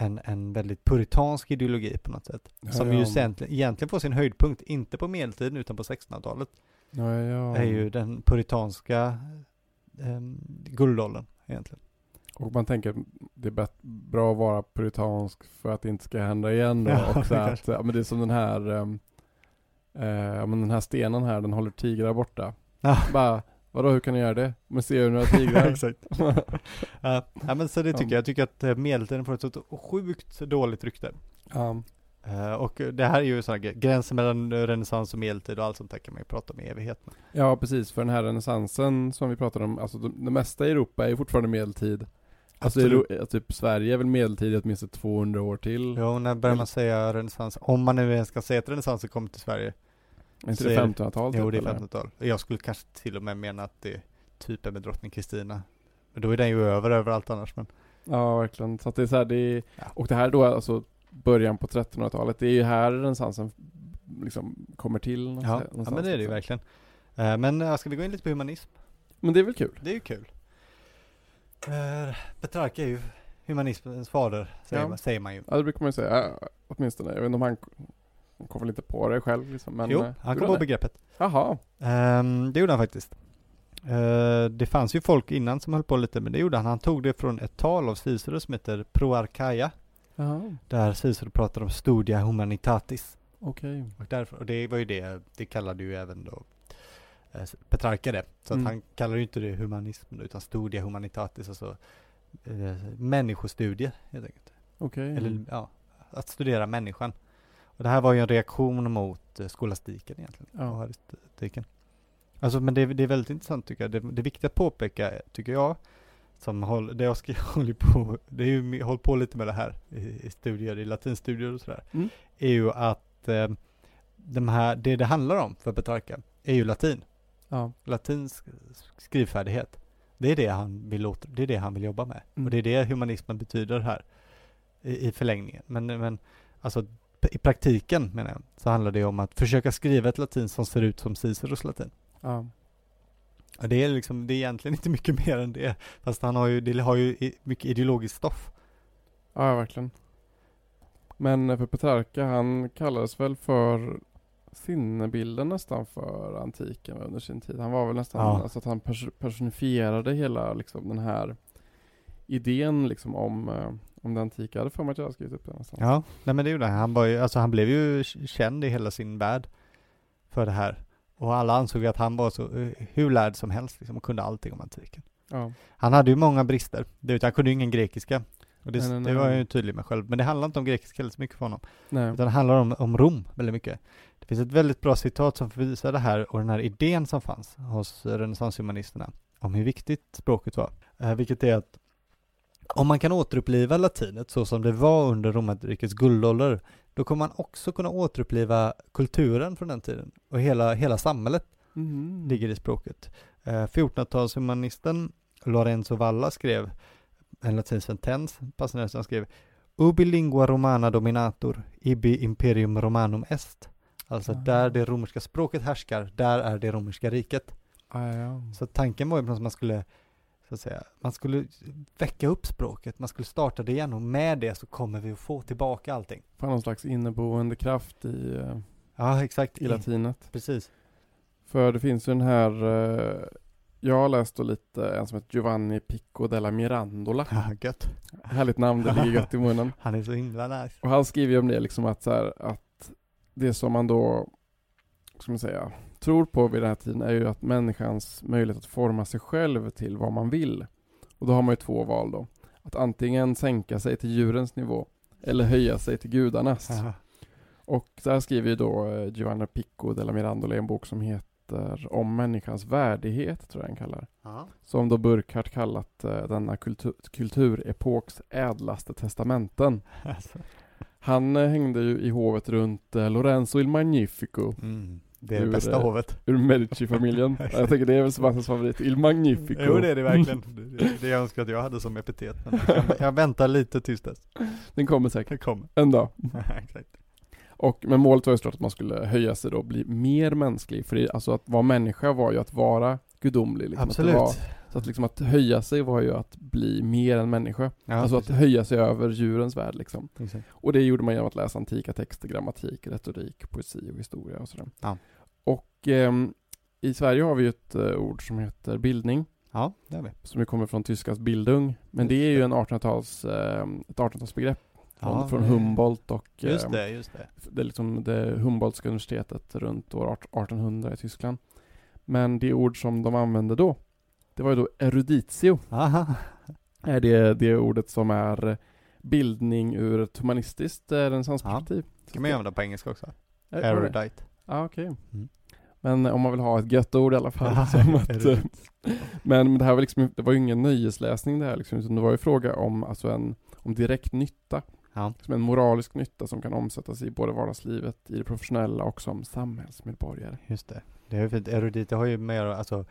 Speaker 1: en, en väldigt puritansk ideologi på något sätt.
Speaker 2: Ja,
Speaker 1: som
Speaker 2: ja.
Speaker 1: ju egentligen, egentligen får sin höjdpunkt, inte på medeltiden utan på 1600-talet.
Speaker 2: Ja, ja.
Speaker 1: är ju den puritanska eh, guldåldern egentligen.
Speaker 2: Och man tänker att det är bet- bra att vara puritansk för att det inte ska hända igen då.
Speaker 1: Ja,
Speaker 2: och så
Speaker 1: det
Speaker 2: att,
Speaker 1: kanske.
Speaker 2: ja, men det är som den här, ehm, eh, ja, men den här stenen här, den håller tigrar borta.
Speaker 1: Ja.
Speaker 2: Bara, vadå hur kan du göra det? Men ser du några tigrar?
Speaker 1: Exakt. Ja, ja, men så det tycker jag. Jag tycker att eh, medeltiden får ett så sjukt dåligt rykte.
Speaker 2: ja,
Speaker 1: Eh, Och det här är ju sådana gre- gränser mellan eh, renässans och medeltid och allt sånt där kan man ju prata om i evighet. men-
Speaker 2: ja, precis. För den här renässansen som vi pratade om, alltså det, det mesta i Europa är ju fortfarande medeltid. Alltså,
Speaker 1: Absolut.
Speaker 2: Euro- typ Sverige är väl medeltid i åtminstone 200 år till.
Speaker 1: Jo, när börjar man säga renässans? Om man nu ens ska säga att renässansen kom till Sverige.
Speaker 2: Är inte
Speaker 1: så
Speaker 2: det
Speaker 1: är det-
Speaker 2: 1500-tal?
Speaker 1: Jo,
Speaker 2: typ,
Speaker 1: det är
Speaker 2: eller?
Speaker 1: 1500-tal. Jag skulle kanske till och med mena att det är typen med drottning Kristina. Men då är den ju över överallt annars. Men
Speaker 2: Ja, verkligen. Så att det är så här, det är,
Speaker 1: Ja.
Speaker 2: och det här då är alltså början på 1300-talet, det är ju här renässansen liksom kommer till.
Speaker 1: ja,
Speaker 2: någonstans-
Speaker 1: ja
Speaker 2: någonstans,
Speaker 1: men det är det ju
Speaker 2: liksom.
Speaker 1: verkligen. Eh, Men ja, ska vi gå in lite på humanism?
Speaker 2: Men det är väl kul?
Speaker 1: Det är ju kul. Eh, Petrarca är ju humanismens fader, säger,
Speaker 2: Ja.
Speaker 1: man, säger man ju.
Speaker 2: Ja, det brukar man ju säga, ja, åtminstone. Jag vet inte om han han kom väl inte på det själv liksom, men...
Speaker 1: jo,
Speaker 2: eh,
Speaker 1: han
Speaker 2: gjorde
Speaker 1: kom på
Speaker 2: det?
Speaker 1: begreppet.
Speaker 2: Jaha.
Speaker 1: Ehm, det gjorde han faktiskt. Eh, det fanns ju folk innan som höll på lite, men det gjorde han. Han tog det från ett tal av Cicero som heter Proarchaia,
Speaker 2: Jaha,
Speaker 1: där Cicero pratar om Studia Humanitatis.
Speaker 2: okej.
Speaker 1: Och, därför, och det var ju det, det kallade ju även då eh, Petrarca det. Så
Speaker 2: Mm.
Speaker 1: att han kallade ju inte det humanism då, utan Studia Humanitatis, alltså eh, människostudier helt enkelt.
Speaker 2: Okej.
Speaker 1: Eller ja, att studera människan. Och det här var ju en reaktion mot eh, skolastiken egentligen och
Speaker 2: Ja.
Speaker 1: Aristotelesen. Alltså men det, är- det är väldigt intressant tycker jag. Det, det är viktigt att påpeka, tycker jag, som håll, det jag ska, håller på, det är ju, mi- håll på lite med det här i, i studier, i latinstudier och sådär,
Speaker 2: Mm.
Speaker 1: är ju att eh, de här, det det handlar om för Petrarca är ju latin,
Speaker 2: ja.
Speaker 1: latinsk skrivfärdighet. Det är det han vill, åter, det är det han vill jobba med.
Speaker 2: Mm.
Speaker 1: Och det är det humanismen betyder här i, i förlängningen. Men, men alltså p- i praktiken menar jag, så handlar det om att försöka skriva ett latin som ser ut som Ciceros latin.
Speaker 2: ja.
Speaker 1: Och det är liksom, det är egentligen inte mycket mer än det. Fast han har ju, det har ju i- mycket ideologiskt stoff.
Speaker 2: Ja, verkligen. Men eh, för Petrarca, han kallades väl för sinnebilden nästan för antiken under sin tid. Han var väl nästan,
Speaker 1: Ja.
Speaker 2: alltså att han pers- personifierade hela liksom den här idén liksom om, eh, om det antika. Jag hade för mig att jag hade skrivit upp det någonstans.
Speaker 1: Ja, nej men det gjorde han. Han var ju, alltså han blev ju k- känd i hela sin värld för det här. Och alla ansåg att han var så, eh, hur lärd som helst liksom, och kunde allting om antiken.
Speaker 2: Ja.
Speaker 1: Han hade ju många brister. Det vet, jag, han kunde ju ingen grekiska. Och det,
Speaker 2: Nej, nej,
Speaker 1: det var
Speaker 2: nej.
Speaker 1: jag ju tydlig med själv. Men det handlar inte om grekiska heller så mycket för honom.
Speaker 2: Nej.
Speaker 1: Utan det handlar om, om Rom väldigt mycket. Det finns ett väldigt bra citat som visar det här och den här idén som fanns hos eh, renässanshumanisterna om hur viktigt språket var. Eh, vilket är att om man kan återuppliva latinet så som det var under romarrikets guldålder, då kommer man också kunna återuppliva kulturen från den tiden och hela, hela samhället
Speaker 2: Mhm.
Speaker 1: ligger i språket. Eh, 1400-talshumanisten Lorenzo Valla skrev en latin sentens, passande nog som han skrev Ubi lingua romana dominator, ibi imperium romanum est. Alltså
Speaker 2: Ah.
Speaker 1: där det romerska språket härskar, där är det romerska riket.
Speaker 2: Ah, ja.
Speaker 1: Så tanken var ju på något sätt att man skulle, så att säga, man skulle väcka upp språket, man skulle starta det igen och med det så kommer vi att få tillbaka allting.
Speaker 2: Fann någon slags inneboende kraft i, eh,
Speaker 1: Ja, exakt.
Speaker 2: i latinet.
Speaker 1: Precis.
Speaker 2: För det finns ju den här, eh, jag har läst då lite en som heter Giovanni Pico della Mirandola.
Speaker 1: Ja, gött.
Speaker 2: Härligt namn, det ligger gött i munnen.
Speaker 1: Han är så himla nice.
Speaker 2: Och han skriver ju om det liksom att, så här, att det som man då, vad ska man säga, tror på vid den här tiden är ju att människans möjlighet att forma sig själv till vad man vill. Och då har man ju två val då. Att antingen sänka sig till djurens nivå eller höja sig till gudarnas.
Speaker 1: Aha.
Speaker 2: Och så här skriver ju då eh, Giovanna Picco della Mirandola i en bok som heter Om människans värdighet, tror jag den kallar. Som då Burkhardt kallat eh, denna kultur, kulturepoks ädlaste testamenten.
Speaker 1: Alltså.
Speaker 2: Han eh, hängde ju i hovet runt eh, Lorenzo il Magnifico
Speaker 1: Mm. Det är
Speaker 2: Hur,
Speaker 1: det bästa
Speaker 2: eh,
Speaker 1: hovet.
Speaker 2: ur Medici-familjen. Ja, jag tänker det är väl Sebastians favorit, il Magnifico.
Speaker 1: Jo det är det verkligen. Det är det jag önskar att jag hade som epitet. Men jag, kan- jag väntar lite tills dess.
Speaker 2: Den kommer säkert
Speaker 1: Det kommer.
Speaker 2: en dag.
Speaker 1: Exakt.
Speaker 2: Och, men målet var ju såklart att man skulle höja sig då och bli mer mänsklig. För det, alltså att vara människa var ju att vara gudomlig. Liksom, Att det var,
Speaker 1: Absolut.
Speaker 2: så att, liksom, att höja sig var ju att bli mer än människa.
Speaker 1: Ja,
Speaker 2: alltså att
Speaker 1: precis.
Speaker 2: höja sig över djurens värld liksom.
Speaker 1: Exakt.
Speaker 2: Och det gjorde man genom att läsa antika texter, grammatik, retorik, poesi och historia och sådär.
Speaker 1: Ja.
Speaker 2: Och ehm, i Sverige har vi ju ett eh, ord som heter bildning,
Speaker 1: Ja, det är vi.
Speaker 2: som ju kommer från tyskans bildung. Men det är ju en 1800-tals, ehm, ett 1800-talsbegrepp från,
Speaker 1: Ja,
Speaker 2: från
Speaker 1: det-
Speaker 2: Humboldt och
Speaker 1: Just
Speaker 2: ehm,
Speaker 1: det, just det.
Speaker 2: det, är liksom det Humboldtska universitetet runt år 1800 i Tyskland. Men det ord som de använde då, det var ju då eruditio.
Speaker 1: Aha.
Speaker 2: Är det, det ordet som är bildning ur ett humanistiskt eh, renässansperspektiv.
Speaker 1: Kan man ju använda på engelska också?
Speaker 2: Ja.
Speaker 1: Erudite.
Speaker 2: Ja, Eh, okej.
Speaker 1: Mm.
Speaker 2: Men om man vill ha ett gött ord i alla
Speaker 1: Ja,
Speaker 2: fall. som att, eh,
Speaker 1: erudit.
Speaker 2: men det här var, liksom, det var ju ingen nöjesläsning det här liksom, utan det var ju fråga om, alltså en, om direkt nytta.
Speaker 1: Ja.
Speaker 2: Som en moralisk nytta som kan omsättas i både vardagslivet, i det professionella och som samhällsmedborgare.
Speaker 1: Just det. Det är ju fint. Erudit, det har ju mer, alltså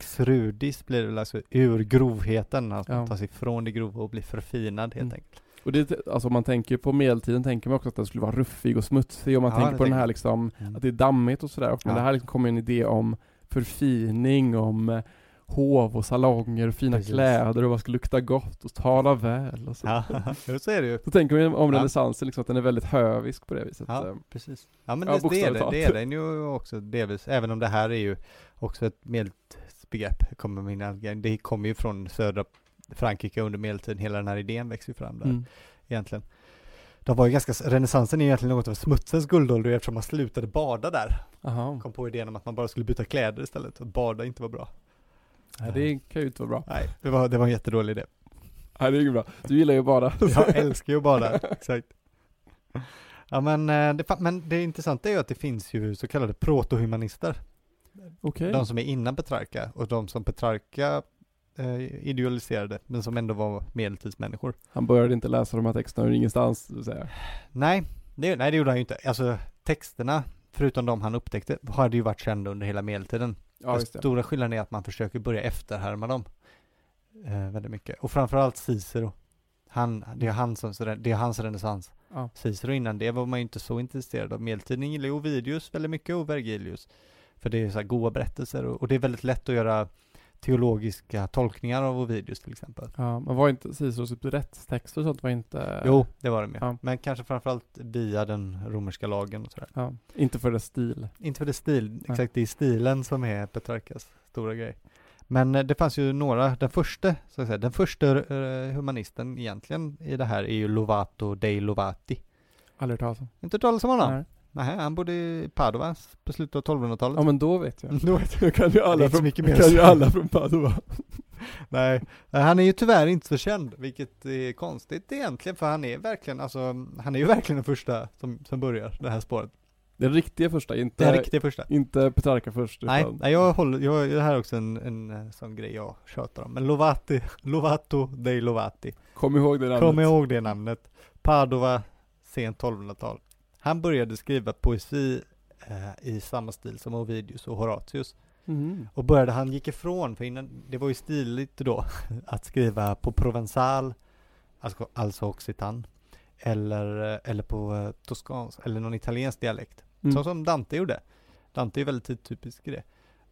Speaker 1: exrudis blir det väl alltså ur grovheten, alltså
Speaker 2: Ja.
Speaker 1: ja. tas ifrån det grova och blir förfinad helt
Speaker 2: Mm.
Speaker 1: enkelt.
Speaker 2: Och det, alltså om man tänker på medeltiden tänker man också att den skulle vara ruffig och smutsig och man
Speaker 1: Ja,
Speaker 2: tänker
Speaker 1: det
Speaker 2: på den
Speaker 1: tänker
Speaker 2: här
Speaker 1: jag.
Speaker 2: liksom,
Speaker 1: Mm.
Speaker 2: att det är dammigt och sådär. Men
Speaker 1: Ja.
Speaker 2: det här liksom kommer en idé om förfining, om eh, hov och salonger och fina
Speaker 1: Precis.
Speaker 2: kläder och vad ska lukta gott och tala väl och så.
Speaker 1: Ja, jo, så är det ju.
Speaker 2: Så tänker man ju om
Speaker 1: Ja.
Speaker 2: renässansen liksom att den är väldigt hövisk på det viset.
Speaker 1: Ja.
Speaker 2: Eh,
Speaker 1: Precis. Ja men
Speaker 2: Ja,
Speaker 1: det, det, är
Speaker 2: bokstavligt
Speaker 1: det,
Speaker 2: talat.
Speaker 1: det är den ju också delvis, även om det här är ju också ett medeltidsbegrepp, kommer min algering. Det kommer ju från södra Frankrike under medeltiden, hela den här idén växer ju fram där
Speaker 2: Mm.
Speaker 1: egentligen. De var ju ganska, renässansen är ju egentligen något av smutsens guldålder eftersom man slutade bada där.
Speaker 2: Aha.
Speaker 1: Kom på idén om att man bara skulle byta kläder istället, och bada inte var bra.
Speaker 2: Nej, det kan ju inte vara bra.
Speaker 1: Nej, det var, det var en jättedålig idé.
Speaker 2: Nej, det är ju bra. Du gillar ju bara.
Speaker 1: Jag älskar ju att bada, exakt. Ja men eh, det, fa- men det intressanta är ju att det finns ju så kallade protohumanister.
Speaker 2: Okej.
Speaker 1: De som är innan Petrarca och de som Petrarca eh, idealiserade, men som ändå var medeltidsmänniskor.
Speaker 2: Han började inte läsa de här texterna ur ingenstans, så att säga.
Speaker 1: Nej det, nej, det gjorde han ju inte. Alltså texterna, förutom de han upptäckte, hade ju varit kända under hela medeltiden.
Speaker 2: Ja,
Speaker 1: den
Speaker 2: just det.
Speaker 1: stora skillnaden är att man försöker börja efterhärma dem eh, väldigt mycket. Och framförallt Cicero. Han, det, är han som, det är hans renässans.
Speaker 2: Ja.
Speaker 1: Cicero innan det var man ju inte så intresserad av. Medeltiden gillar ju Ovidius väldigt mycket och Vergilius. För det är så här goa berättelser och, och det är väldigt lätt att göra teologiska tolkningar av Ovidius till exempel.
Speaker 2: ja, men var inte Ciceros typ rättstexter och sånt var inte...
Speaker 1: Jo, det var det med.
Speaker 2: Ja.
Speaker 1: Men kanske framförallt via den romerska lagen och sådär.
Speaker 2: Ja, inte för dess stil.
Speaker 1: Inte för det stil, exakt det är stilen som är Petrarkas stora grej. Men eh, det fanns ju några, den första, så att säga, den första eh, humanisten egentligen i det här är ju Lovato dei Lovati.
Speaker 2: Aldrig hört talas om.
Speaker 1: Inte hört talas om honom?
Speaker 2: Nej.
Speaker 1: Nej, han bodde i Padova på slutet av 1200-talet.
Speaker 2: Ja men då vet jag.
Speaker 1: Då vet
Speaker 2: Jag kan ju
Speaker 1: Det är
Speaker 2: alla
Speaker 1: inte så
Speaker 2: från,
Speaker 1: mycket mer.
Speaker 2: kan ju alla från Padova.
Speaker 1: Nej, Nej, han är ju tyvärr inte så känd, vilket är konstigt egentligen, för han är verkligen, alltså, han är ju verkligen den första som, som börjar det här spåret.
Speaker 2: Den riktiga första, inte,
Speaker 1: Den riktiga första.
Speaker 2: inte Petrarca först.
Speaker 1: Nej,
Speaker 2: utan-
Speaker 1: nej jag håller, jag, det här är också en, en eh, sån grej jag tjatar om. Men Lovati, Lovato dei Lovati.
Speaker 2: Kom ihåg det namnet.
Speaker 1: Kom ihåg det namnet. Padova, sent 1200-tal. Han började skriva poesi eh, i samma stil som Ovidius och Horatius.
Speaker 2: Mhm.
Speaker 1: Och började, han gick ifrån, för innan, det var ju stiligt då, att skriva på provensal, alltså, alltså occitan, eller, eh, eller på eh, toskansk, eller någon italiensk dialekt.
Speaker 2: Mm.
Speaker 1: Så som Dante gjorde. Dante är väldigt typisk i det.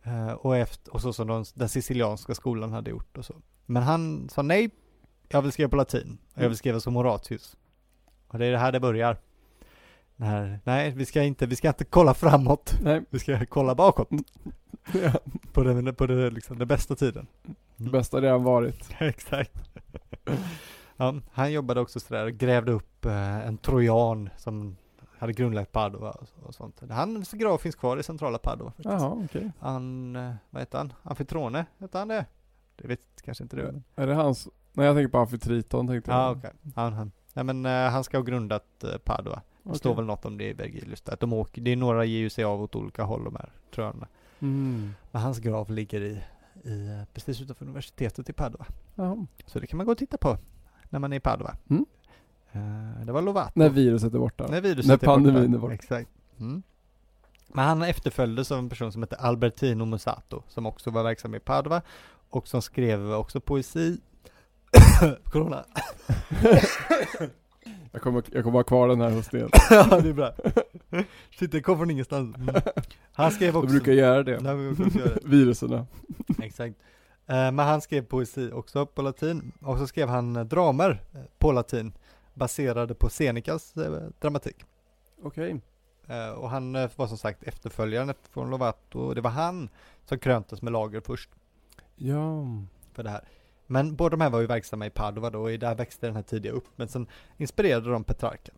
Speaker 1: Eh, och, efter, och så som de, den sicilianska skolan hade gjort och så. Men han sa nej, jag vill skriva på latin, och jag
Speaker 2: Mm.
Speaker 1: vill skriva som Horatius. Och det är det här det börjar. Det här, nej, vi ska inte, vi ska inte kolla framåt,
Speaker 2: Nej.
Speaker 1: vi ska kolla bakåt
Speaker 2: Mm. Ja.
Speaker 1: på den, på den, liksom, den bästa tiden.
Speaker 2: Det bästa har redan varit.
Speaker 1: Exakt. ja, han jobbade också sådär och grävde upp eh, en trojan som hade grundlagt Padova och, och sånt. Hans grav finns kvar i centrala Padova. faktiskt.
Speaker 2: Jaha, okej.
Speaker 1: Han, eh, vad heter han? Amfitrone, hette han det? Det vet kanske inte du.
Speaker 2: Är det hans? Nej jag tänker på Amfitriton tänkte
Speaker 1: Ja,
Speaker 2: jag.
Speaker 1: Ah, okej. Han, han. Nej men eh, han ska ha grundat eh, Padua. Det står
Speaker 2: Okej.
Speaker 1: väl något om det i Vergilius. där, Att de åker, det är några ger ju sig av åt olika håll de här tröjorna.
Speaker 2: Mm.
Speaker 1: Men hans grav ligger i, i, eh, precis utanför universitetet i Padua.
Speaker 2: Jaha.
Speaker 1: Så det kan man gå och titta på när man är i Padua.
Speaker 2: Mm.
Speaker 1: Eh, det var Lovato.
Speaker 2: När viruset är borta.
Speaker 1: När viruset
Speaker 2: När
Speaker 1: är borta.
Speaker 2: pandemin är borta.
Speaker 1: Exakt. Mm. Men han efterföljdes av en person som hette Albertino Musato som också var verksam i Padua och som skrev också poesi. Corona.
Speaker 2: Jag kommer, jag kommer ha kvar den här hos er.
Speaker 1: ja, det är bra. Shit, det kom från ingenstans. Mm. Han skrev
Speaker 2: Jag
Speaker 1: också...
Speaker 2: brukar göra det.
Speaker 1: Nej, vi brukar också göra det.
Speaker 2: Viruserna.
Speaker 1: Exakt. Eh, Men han skrev poesi också på latin och så skrev han eh, dramer eh, på latin baserade på Senecas eh, dramatik.
Speaker 2: Okej.
Speaker 1: Eh, Och han eh, var som sagt efterföljaren från Lovato och det var han som kröntes med lager först
Speaker 2: Ja.
Speaker 1: för det här. Men båda de här var ju verksamma i Padova då och i- där växte den här tidiga upp men sen inspirerade de Petrarca.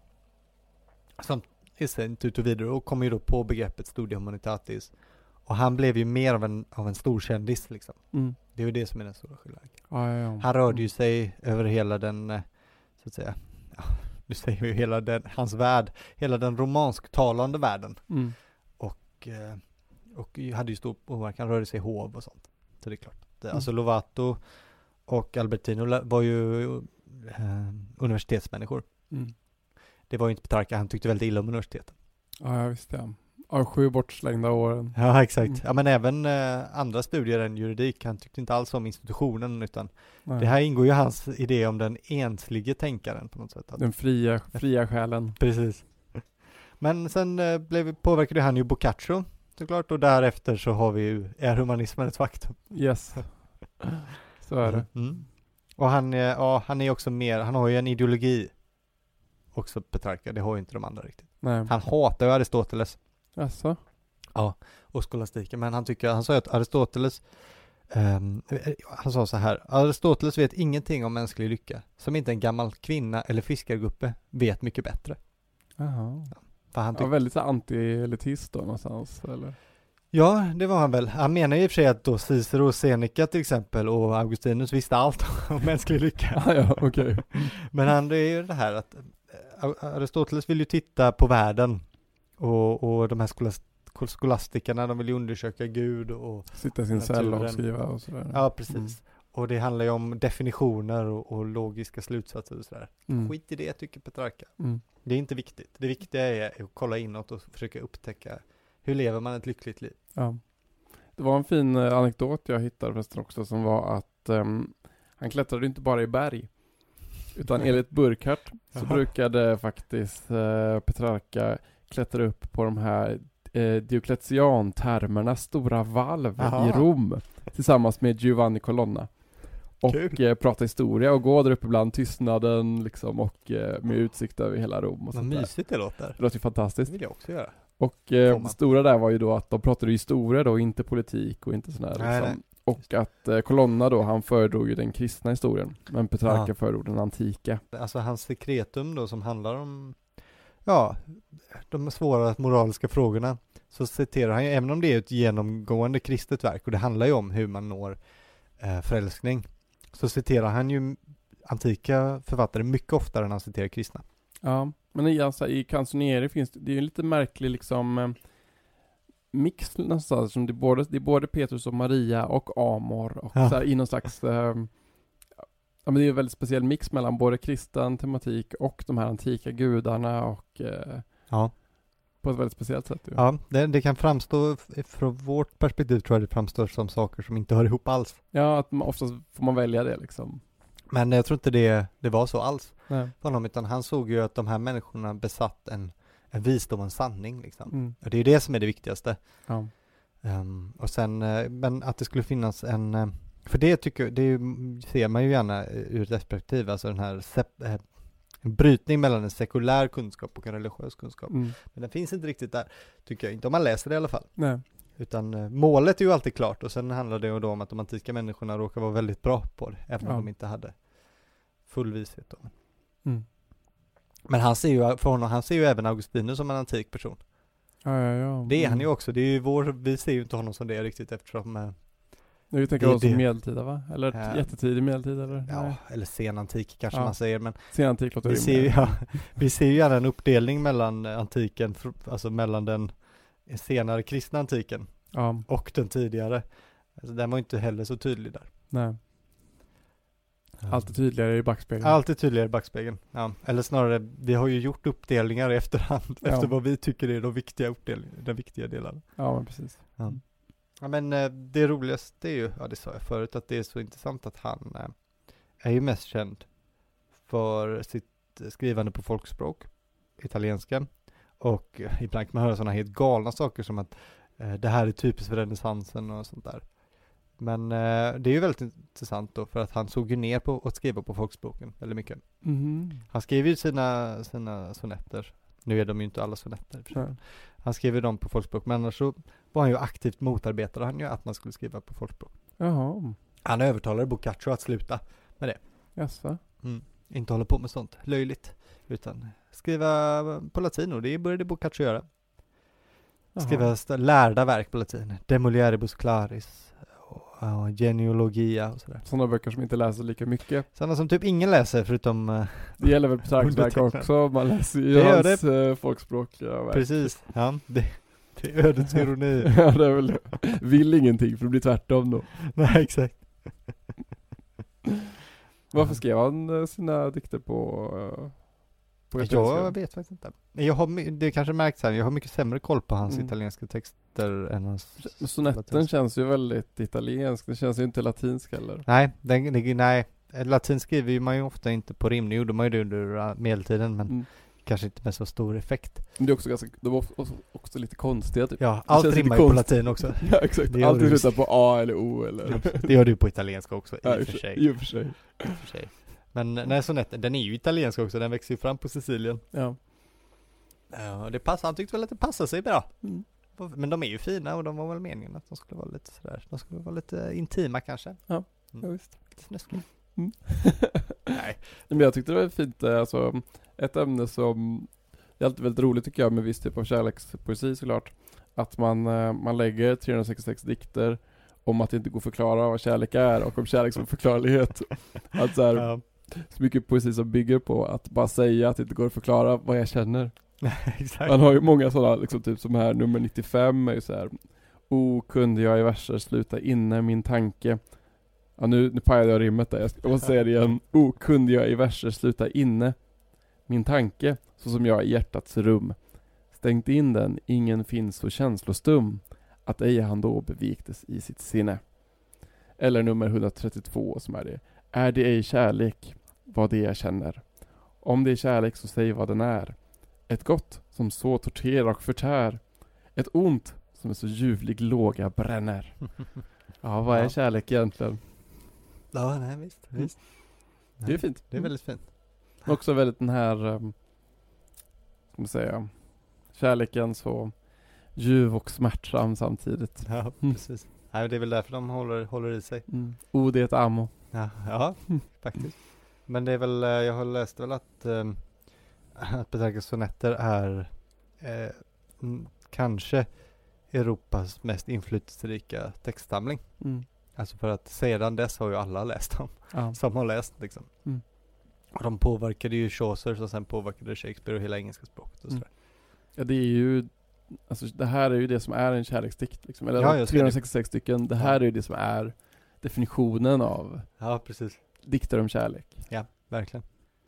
Speaker 1: Som i sin tur tog vidare och kom ju då på begreppet studia humanitatis och han blev ju mer av en, av en stor kändis liksom.
Speaker 2: Mm.
Speaker 1: Det är ju det som är den stora skillnaden.
Speaker 2: Ja, ja, ja.
Speaker 1: Han rörde ju sig över hela den, eh, så att säga, ja, nu säger vi ju hela den, hans värld, hela den romansktalande världen.
Speaker 2: Mm.
Speaker 1: Och, eh, och ju- hade ju stor påverkan, rörde sig i hov och sånt. Så det är klart. Det-
Speaker 2: Mm.
Speaker 1: Alltså Lovato och Albertino la- var ju eh, universitetsmänniskor.
Speaker 2: Mm.
Speaker 1: Det var ju inte Petrarca, han tyckte väldigt illa om universiteten.
Speaker 2: Ja, ja, visst ja. Ja, sju bortslängda åren.
Speaker 1: Ja, exakt.
Speaker 2: Mm.
Speaker 1: Ja, men även eh, andra studier än juridik, han tyckte inte alls om institutionen utan
Speaker 2: Nej.
Speaker 1: det här ingår ju i hans idé om den enslige tänkaren på något sätt. Att
Speaker 2: Den fria, fria själen.
Speaker 1: Precis. Men sen eh, blev, påverkade han ju Boccaccio såklart och därefter så har vi ju, är humanismen ett faktum.
Speaker 2: Yes. Så är det.
Speaker 1: Mm. Och han, eh, ja, han är också mer, han har ju en ideologi också Petrarca, det har ju inte de andra riktigt.
Speaker 2: Nej.
Speaker 1: Han hatar ju Aristoteles
Speaker 2: Jaså?
Speaker 1: och skolastiken, men han tycker, han sa ju att Aristoteles ehm, eh, han sa så här, Aristoteles vet ingenting om mänsklig lycka, som inte en gammal kvinna eller fiskargruppe vet mycket bättre.
Speaker 2: Jaha.
Speaker 1: För han
Speaker 2: Han var väldigt så anti-elitist då någonstans eller?
Speaker 1: Ja, det var han väl. Han menar ju i och för sig att då Cicero, Seneca till exempel och Augustinus visste allt om mänsklig lycka.
Speaker 2: Ah, ja, okej.
Speaker 1: Men han, det är ju det här att eh, Aristoteles vill ju titta på världen och, och de här skolas, skolastikerna, de vill ju undersöka Gud och
Speaker 2: Sitta i sin cell och
Speaker 1: Naturen.
Speaker 2: skriva och sådär.
Speaker 1: ja, precis.
Speaker 2: Mm.
Speaker 1: Och det handlar ju om definitioner och, och logiska slutsatser och sådär.
Speaker 2: Mm.
Speaker 1: Skit i det tycker Petrarca.
Speaker 2: Mm.
Speaker 1: Det är inte viktigt. Det viktiga är att kolla inåt och försöka upptäcka hur lever man ett lyckligt liv?
Speaker 2: Ja. Det var en fin eh, anekdot jag hittade förresten också som var att ehm, han klättrade ju inte bara i berg. Utan enligt Burkhardt så
Speaker 1: Jaha.
Speaker 2: brukade faktiskt eh, Petrarca klättra upp på de här eh, Diocletian-termerna, stora valv
Speaker 1: Jaha.
Speaker 2: i Rom tillsammans med Giovanni Colonna. Och
Speaker 1: Kul.
Speaker 2: eh, prata historia och gå där uppe bland tystnaden liksom och eh, med utsikt över hela Rom och
Speaker 1: Vad
Speaker 2: sånt där.
Speaker 1: mysigt det låter.
Speaker 2: Det låter ju fantastiskt.
Speaker 1: Det vill jag också göra.
Speaker 2: Och eh,
Speaker 1: Får
Speaker 2: det
Speaker 1: man.
Speaker 2: stora där var ju då att de pratade ju historia då, inte politik och inte sådär
Speaker 1: Nej,
Speaker 2: liksom. Och att eh, Colonna då, han föredrog ju den kristna historien. Men Petrarca
Speaker 1: Ja.
Speaker 2: föredrog den antika.
Speaker 1: Alltså hans sekretum då som handlar om, ja, de svåra moraliska frågorna. Så citerar han ju, även om det är ett genomgående kristet verk och det handlar ju om hur man når eh, förälskning, så citerar han ju antika författare mycket oftare än han citerar kristna.
Speaker 2: Ja, men i, alltså, i Canzonieri finns det, det är ju en lite märklig liksom eh, mix någonstans. Som det, är både, det är både Petrus och Maria och Amor och
Speaker 1: Ja.
Speaker 2: så här, i någon slags eh, Ja men det är ju en väldigt speciell mix mellan både kristen tematik och de här antika gudarna och eh,
Speaker 1: Ja.
Speaker 2: på ett väldigt speciellt sätt ju.
Speaker 1: Ja, det, det kan framstå, f- från vårt perspektiv tror jag det framstår som saker som inte hör ihop alls.
Speaker 2: Ja, att man, oftast får man välja det liksom.
Speaker 1: Men jag tror inte det, det var så alls
Speaker 2: Nej.
Speaker 1: för honom, utan han såg ju att de här människorna besatt en, en visdom och en sanning liksom.
Speaker 2: Mm.
Speaker 1: Och det är ju det som är det viktigaste.
Speaker 2: Ja.
Speaker 1: Ehm, och sen, eh, men att det skulle finnas en, eh, för det tycker jag, det är ju, ser man ju gärna eh, ur ett perspektiv, alltså den här sep, eh, en brytning mellan en sekulär kunskap och en religiös kunskap.
Speaker 2: Mm.
Speaker 1: Men den finns inte riktigt där, tycker jag, inte om man läser det i alla fall.
Speaker 2: Nej.
Speaker 1: Utan eh, målet är ju alltid klart och sen handlar det ju då om att de antika människorna råkar vara väldigt bra på det, även
Speaker 2: Ja.
Speaker 1: om de inte hade full vishet. Då.
Speaker 2: Mm.
Speaker 1: Men han ser ju, för honom, han ser ju även Augustinus som en antik person.
Speaker 2: Ja, ja, ja.
Speaker 1: Det är han
Speaker 2: Mm.
Speaker 1: ju också, det är ju vår, vi ser ju inte honom som det riktigt eftersom eh,
Speaker 2: Nu tänker
Speaker 1: Det-
Speaker 2: jag oss
Speaker 1: det-
Speaker 2: medeltida va? Eller
Speaker 1: Ja.
Speaker 2: jättetidig medeltid eller?
Speaker 1: Ja,
Speaker 2: Nej.
Speaker 1: eller senantik kanske
Speaker 2: Ja.
Speaker 1: man säger, men
Speaker 2: Senantik låter
Speaker 1: vi ser, ju,
Speaker 2: rimligare.
Speaker 1: ja, vi ser ju gärna en uppdelning mellan eh, antiken, fr- alltså mellan den senare kristna antiken
Speaker 2: Ja,
Speaker 1: och den tidigare. Alltså, den var ju inte heller så tydlig där.
Speaker 2: nej. Alltid tydligare i backspegeln.
Speaker 1: Alltid tydligare i backspegeln. Ja. Eller snarare, vi har ju gjort uppdelningar i efterhand
Speaker 2: Ja.
Speaker 1: efter vad vi tycker är de viktiga uppdelningarna, den viktiga delen.
Speaker 2: Ja, men precis.
Speaker 1: Ja, men eh, det roligaste är ju, ja det sa jag förut, att det är så intressant att han eh, är ju mest känd för sitt eh, skrivande på folkspråk, italienskan. Och eh, ibland kan man höra sådana helt galna saker som att eh, det här är typiskt för renässansen och sånt där. Men eh, det är ju väldigt intressant då, för att han såg ju ner på att skriva på folkspråken väldigt mycket.
Speaker 2: Mhm.
Speaker 1: Han skrev ju sina, sina sonetter. Nu är de ju inte alla sonetter. i och för sig.
Speaker 2: Nej.
Speaker 1: Han skrev ju dem på folkspråk, men annars så var han ju aktivt motarbetade han ju att man skulle skriva på folkspråk.
Speaker 2: Jaha,
Speaker 1: Han övertalade Boccaccio att sluta,
Speaker 2: jaså?
Speaker 1: inte hålla på med sånt löjligt, utan skriva på latin och det började Boccaccio göra.
Speaker 2: Jaha.
Speaker 1: Skriva st- lärda verk på latin, Demolieribus claris, och, och genealogia och sådär.
Speaker 2: Sådana böcker som inte läser lika mycket.
Speaker 1: Sådana som typ ingen läser förutom, eh,
Speaker 2: Det gäller väl Petrarchs verk
Speaker 1: Undertecknad.
Speaker 2: också, man läser ju
Speaker 1: Det gör
Speaker 2: hans eh, folkspråk. Ja, verk.
Speaker 1: precis, ja, det, det är ödets ironi.
Speaker 2: ja, det är väl det. Vill ingenting för det blir tvärtom då.
Speaker 1: Nej, exakt.
Speaker 2: Varför skrev han eh, sina dikter på, eh, på
Speaker 1: Jag
Speaker 2: italienska?
Speaker 1: vet faktiskt inte. Jag har, my- det kanske märks här, jag har mycket sämre koll på hans
Speaker 2: Mm.
Speaker 1: italienska texter än hans...
Speaker 2: Men Sonetten känns ju väldigt italiensk, den känns ju inte latinsk heller.
Speaker 1: Nej, den, det- nej, latin skriver ju man ju ofta inte på rim. Nu gjorde man ju det under äh, medeltiden, men
Speaker 2: Mm.
Speaker 1: kanske inte med så stor effekt.
Speaker 2: Men det är också ganska, de var också, också lite konstiga typ.
Speaker 1: Ja, allt
Speaker 2: känns lite
Speaker 1: rimmar ju på
Speaker 2: konstigt.
Speaker 1: latin också.
Speaker 2: Ja exakt,
Speaker 1: Det gör
Speaker 2: allting
Speaker 1: du.
Speaker 2: slutar på A eller O eller...
Speaker 1: Det gör du på italienska också, i
Speaker 2: Ja,
Speaker 1: och för sig.
Speaker 2: I och för sig.
Speaker 1: I och för sig. Men eh, nej, sonetten, den är ju italiensk också, den växer ju fram på Sicilien.
Speaker 2: Ja.
Speaker 1: Ja, och det passar, han tyckte väl att det passade sig bra.
Speaker 2: Mm.
Speaker 1: Men de är ju fina och de var väl meningen att de skulle vara lite sådär, de skulle vara lite intima kanske.
Speaker 2: Ja, visst.
Speaker 1: Lite snuskiga.
Speaker 2: Mm.
Speaker 1: Nej.
Speaker 2: Men jag tyckte det var fint, eh, alltså, ett ämne som det är alltid väldigt roligt tycker jag med viss typ av kärlekspoesi såklart. Att man, eh, man lägger 366 dikter om att det inte går att förklara vad kärlek är och om kärlek som förklarlighet. Att så, här,
Speaker 1: Ja,
Speaker 2: så mycket poesi som bygger på att bara säga att det inte går att förklara vad jag känner.
Speaker 1: exakt.
Speaker 2: Man har ju många sådana, liksom typ som här nummer 95 är ju så här. O kunde jag i verser sluta inne min tanke. Ja nu, nu pajade jag rimmet där, jag ska- jag måste säga det igen. O kunde jag i verser sluta inne min tanke, så som jag i hjärtats rum. Stängt in den, ingen finns så känslostum, att ej han då beviktes i sitt sinne. Eller nummer 132 som är det. Är det ej kärlek, vad det jag känner? Om det är kärlek så säg vad den är. Ett gott som så torterar och förtär. Ett ont som är så ljuvlig låga bränner. Ja, vad är
Speaker 1: Ja.
Speaker 2: kärlek egentligen?
Speaker 1: Ja, nej, visst.
Speaker 2: Mm.
Speaker 1: visst.
Speaker 2: Det är fint.
Speaker 1: Det är väldigt fint.
Speaker 2: Men också väldigt den här, um, ska man säga, kärleken så ljuv och smärtsam samtidigt.
Speaker 1: Ja,
Speaker 2: Mm.
Speaker 1: precis. Nej, men det är väl därför de håller, håller i sig.
Speaker 2: Mm. O det är ett ammo.
Speaker 1: Ja, ja
Speaker 2: Mm.
Speaker 1: faktiskt. Men det är väl, eh, jag har läst väl att, ehm, att Petrarchs sonetter är eh, mm, kanske Europas mest inflytelserika textsamling.
Speaker 2: Mm.
Speaker 1: Alltså för att sedan dess har ju alla läst dem,
Speaker 2: Ja.
Speaker 1: som har läst liksom.
Speaker 2: Mm.
Speaker 1: Och de påverkade ju Chaucer, som sen påverkade Shakespeare och hela engelska språket och
Speaker 2: Mm.
Speaker 1: sådär.
Speaker 2: ja, det är ju, alltså det här är ju det som är en kärleksdikt liksom. Eller
Speaker 1: Ja, jag ser det.
Speaker 2: 366 stycken, det här är ju det som är definitionen av
Speaker 1: Ja, precis.
Speaker 2: dikter om kärlek.
Speaker 1: Verkligen.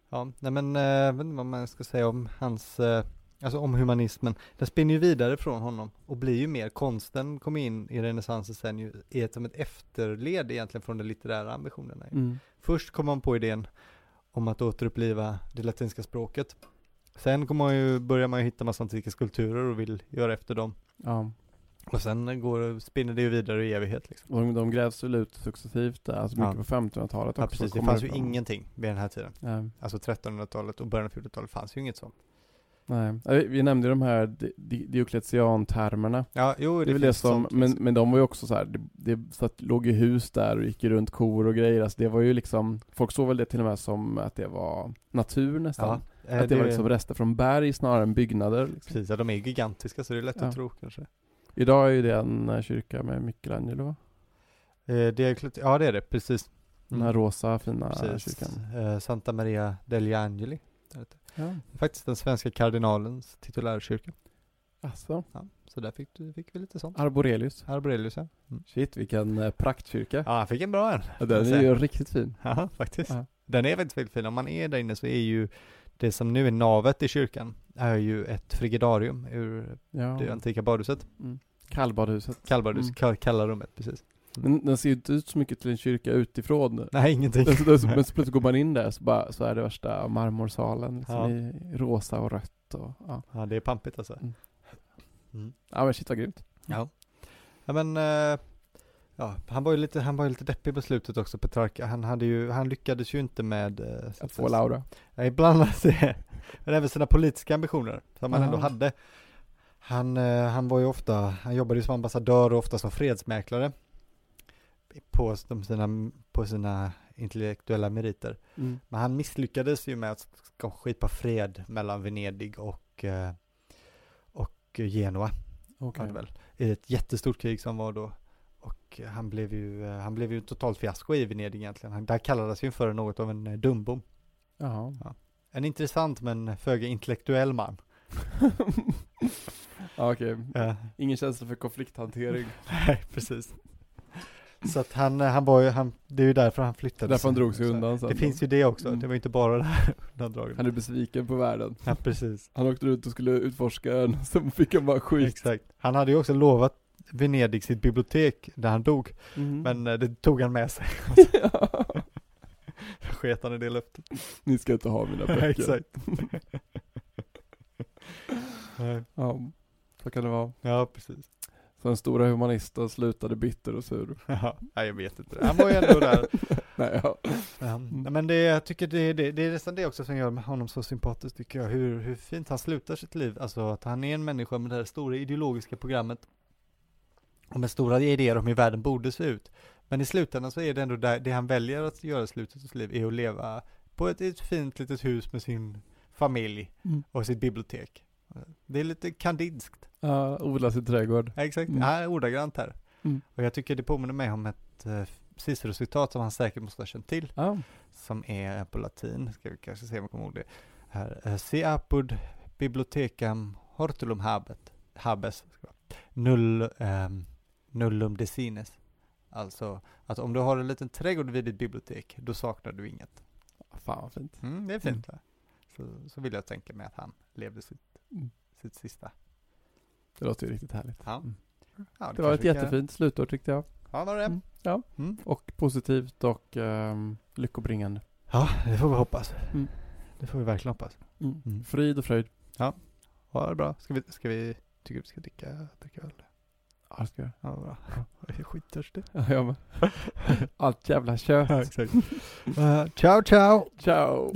Speaker 1: Ja, nej men eh, jag vet inte vad man ska säga om hans, eh, alltså om humanismen. Den spinner ju vidare från honom och blir ju mer, konsten kommer in i renässansen sen ju, är ett, som ett efterled egentligen från de litterära ambitionerna.
Speaker 2: Mm.
Speaker 1: Först kom man på idén om att återuppliva det latinska språket. Sen kom man ju, börjar man ju hitta massa antika skulpturer och vill göra efter dem.
Speaker 2: Ja.
Speaker 1: Och sen går, spinner det ju vidare i evighet liksom.
Speaker 2: De, de grävs väl ut successivt där, alltså mycket
Speaker 1: Ja.
Speaker 2: på 1500-talet också.
Speaker 1: Ja precis, det
Speaker 2: kommer
Speaker 1: fanns ju
Speaker 2: fram.
Speaker 1: ingenting vid den här tiden.
Speaker 2: Nej.
Speaker 1: Alltså 1300-talet och början av 1400-talet fanns ju inget sånt.
Speaker 2: Nej. Ja, vi- Vi nämnde ju de här di- di- Diocletian-termerna.
Speaker 1: Ja, jo
Speaker 2: Det,
Speaker 1: det,
Speaker 2: är väl det
Speaker 1: finns
Speaker 2: som,
Speaker 1: sånt, liksom.
Speaker 2: men, men de var ju också så här, det, det satt, låg i hus där och gick runt kor och grejer. Alltså det var ju liksom, folk såg väl det till och med som att det var natur nästan.
Speaker 1: Ja, eh,
Speaker 2: att det, var liksom rester från berg snarare än byggnader. Liksom.
Speaker 1: Precis, ja, de är gigantiska så det är lätt
Speaker 2: Ja.
Speaker 1: att tro kanske.
Speaker 2: Idag är ju det en eh, kyrka med Michelangelo va?
Speaker 1: Eh, Dioklet- ja det är det, precis. Mm,
Speaker 2: Den här rosa fina
Speaker 1: precis.
Speaker 2: kyrkan.
Speaker 1: Eh, Santa Maria degli Angeli.
Speaker 2: Ja.
Speaker 1: Faktiskt den svenska kardinalens titulärkyrka.
Speaker 2: Alltså,
Speaker 1: Ja, så där fick, du, fick vi lite sånt.
Speaker 2: Arborelius.
Speaker 1: Arborelius ja.
Speaker 2: Shit vilken eh, praktkyrka.
Speaker 1: Ja, han fick en bra en.
Speaker 2: Den är ju riktigt fin.
Speaker 1: Ja, faktiskt.
Speaker 2: Ja.
Speaker 1: Den är faktiskt väldigt fin. Om man är där inne så är ju det som nu är navet i kyrkan är ju ett frigidarium ur
Speaker 2: Ja.
Speaker 1: det antika badhuset.
Speaker 2: Kallbadhuset.
Speaker 1: Kallbadhus,
Speaker 2: Mm.
Speaker 1: ka- kalla rummet precis.
Speaker 2: Men den ser ju inte ut så mycket till en kyrka utifrån.
Speaker 1: Nej, ingenting.
Speaker 2: Den, den, men så plötsligt går man in där så, bara, så är det värsta marmorsalen liksom,
Speaker 1: Ja.
Speaker 2: i rosa och rött och ja.
Speaker 1: Ja, det är pampigt alltså.
Speaker 2: Mm. Ja men shit vad grymt.
Speaker 1: Ja. ja men, eh, ja, han var ju lite, han var ju lite deppig på slutet också Petrarca. Han hade ju, han lyckades ju inte med... eh, så
Speaker 2: Att
Speaker 1: att säga-
Speaker 2: få Laura.
Speaker 1: Nej, bland annat det. Men även sina politiska ambitioner som han
Speaker 2: Aha.
Speaker 1: ändå hade. Han, eh, han var ju ofta, han jobbade ju som ambassadör och ofta som fredsmäklare på, de sina, på sina intellektuella meriter.
Speaker 2: Mm.
Speaker 1: Men han misslyckades ju med att ska- skipa fred mellan Venedig och, eh, och Genua var det väl, i ett jättestort krig som var då. Och han blev ju, eh, han blev ju totalt fiasko i Venedig egentligen. Han, där kallades ju för något av en eh, dumbom.
Speaker 2: Jaha.
Speaker 1: En intressant men föga intellektuell man.
Speaker 2: ja okej.
Speaker 1: Ja,
Speaker 2: Ingen känsla för konflikthantering.
Speaker 1: nej, precis. Så att han, eh, han var ju, han, det är ju därför han flyttade.
Speaker 2: Därför han
Speaker 1: sen.
Speaker 2: drog sig
Speaker 1: Så
Speaker 2: undan sen.
Speaker 1: Det finns ju det också,
Speaker 2: Mm.
Speaker 1: det var ju inte bara det här undandraget.
Speaker 2: Han är besviken på världen.
Speaker 1: Ja, precis.
Speaker 2: Han åkte ut och skulle utforska den, så fick han bara skit.
Speaker 1: Exakt. Han hade ju också lovat Venedig sitt bibliotek där han dog,
Speaker 2: Mm.
Speaker 1: men eh, det tog han med sig. Sket han i det löftet.
Speaker 2: Ni ska inte ha mina böcker.
Speaker 1: Exakt. Nej.
Speaker 2: Ja, så kan det vara.
Speaker 1: Ja, precis.
Speaker 2: Så den stora humanisten slutade bitter och sur.
Speaker 1: Ja, nej, jag vet inte. Han var ju ändå där.
Speaker 2: Nej, ja.
Speaker 1: Ja, men det, jag tycker det, det, det är nästan det också som gör honom så sympatisk tycker jag. Hur, hur fint han slutar sitt liv. Alltså att han är en människa med det här stora ideologiska programmet. Och med stora idéer om hur världen borde se ut. Men i slutändan så är det ändå där, det han väljer att göra i slutet av sitt liv är att leva på ett, ett fint litet hus med sin familj
Speaker 2: Mm.
Speaker 1: och sitt bibliotek. Det är lite kandidskt.
Speaker 2: Ja, odla sin trädgård.
Speaker 1: Ja, exakt,
Speaker 2: Mm.
Speaker 1: ja, ordagrant här.
Speaker 2: Mm.
Speaker 1: Och jag tycker det påminner mig om ett eh, Cicero-citat som han säkert måste ha känt till
Speaker 2: Ja.
Speaker 1: som är på latin, ska vi kanske se om jag kommer ihåg det här. Eh, Si apud bibliothecam hortulum habet, habes, ska det vara. null, ehm, nullum desines. Alltså att om du har en liten trädgård vid ditt bibliotek, då saknar du inget.
Speaker 2: Fan vad fint.
Speaker 1: Mm, det är fint va? Så, så vill jag tänka mig att han levde sitt,
Speaker 2: Mm.
Speaker 1: sitt sista.
Speaker 2: Det låter ju riktigt härligt.
Speaker 1: Ja.
Speaker 2: Mm.
Speaker 1: Ja,
Speaker 2: Det var ett
Speaker 1: kanske vi kan-
Speaker 2: jättefint slutord tyckte jag.
Speaker 1: Ja, var det det?
Speaker 2: Mm. Ja.
Speaker 1: Mm.
Speaker 2: Och positivt och um, lyckobringande.
Speaker 1: Ja, det får vi hoppas.
Speaker 2: Mm.
Speaker 1: Det får vi verkligen hoppas. Mm.
Speaker 2: Frid och fröjd.
Speaker 1: Ha det bra. Ska vi, ska vi, tycker vi ska dricka, dricka öl?
Speaker 2: Ja, det ska jag.
Speaker 1: Ja, bra. Jag är skittörstig.
Speaker 2: Ja, jag med. Allt jävla kött.
Speaker 1: exakt. Eh, ciao, ciao!
Speaker 2: Ciao.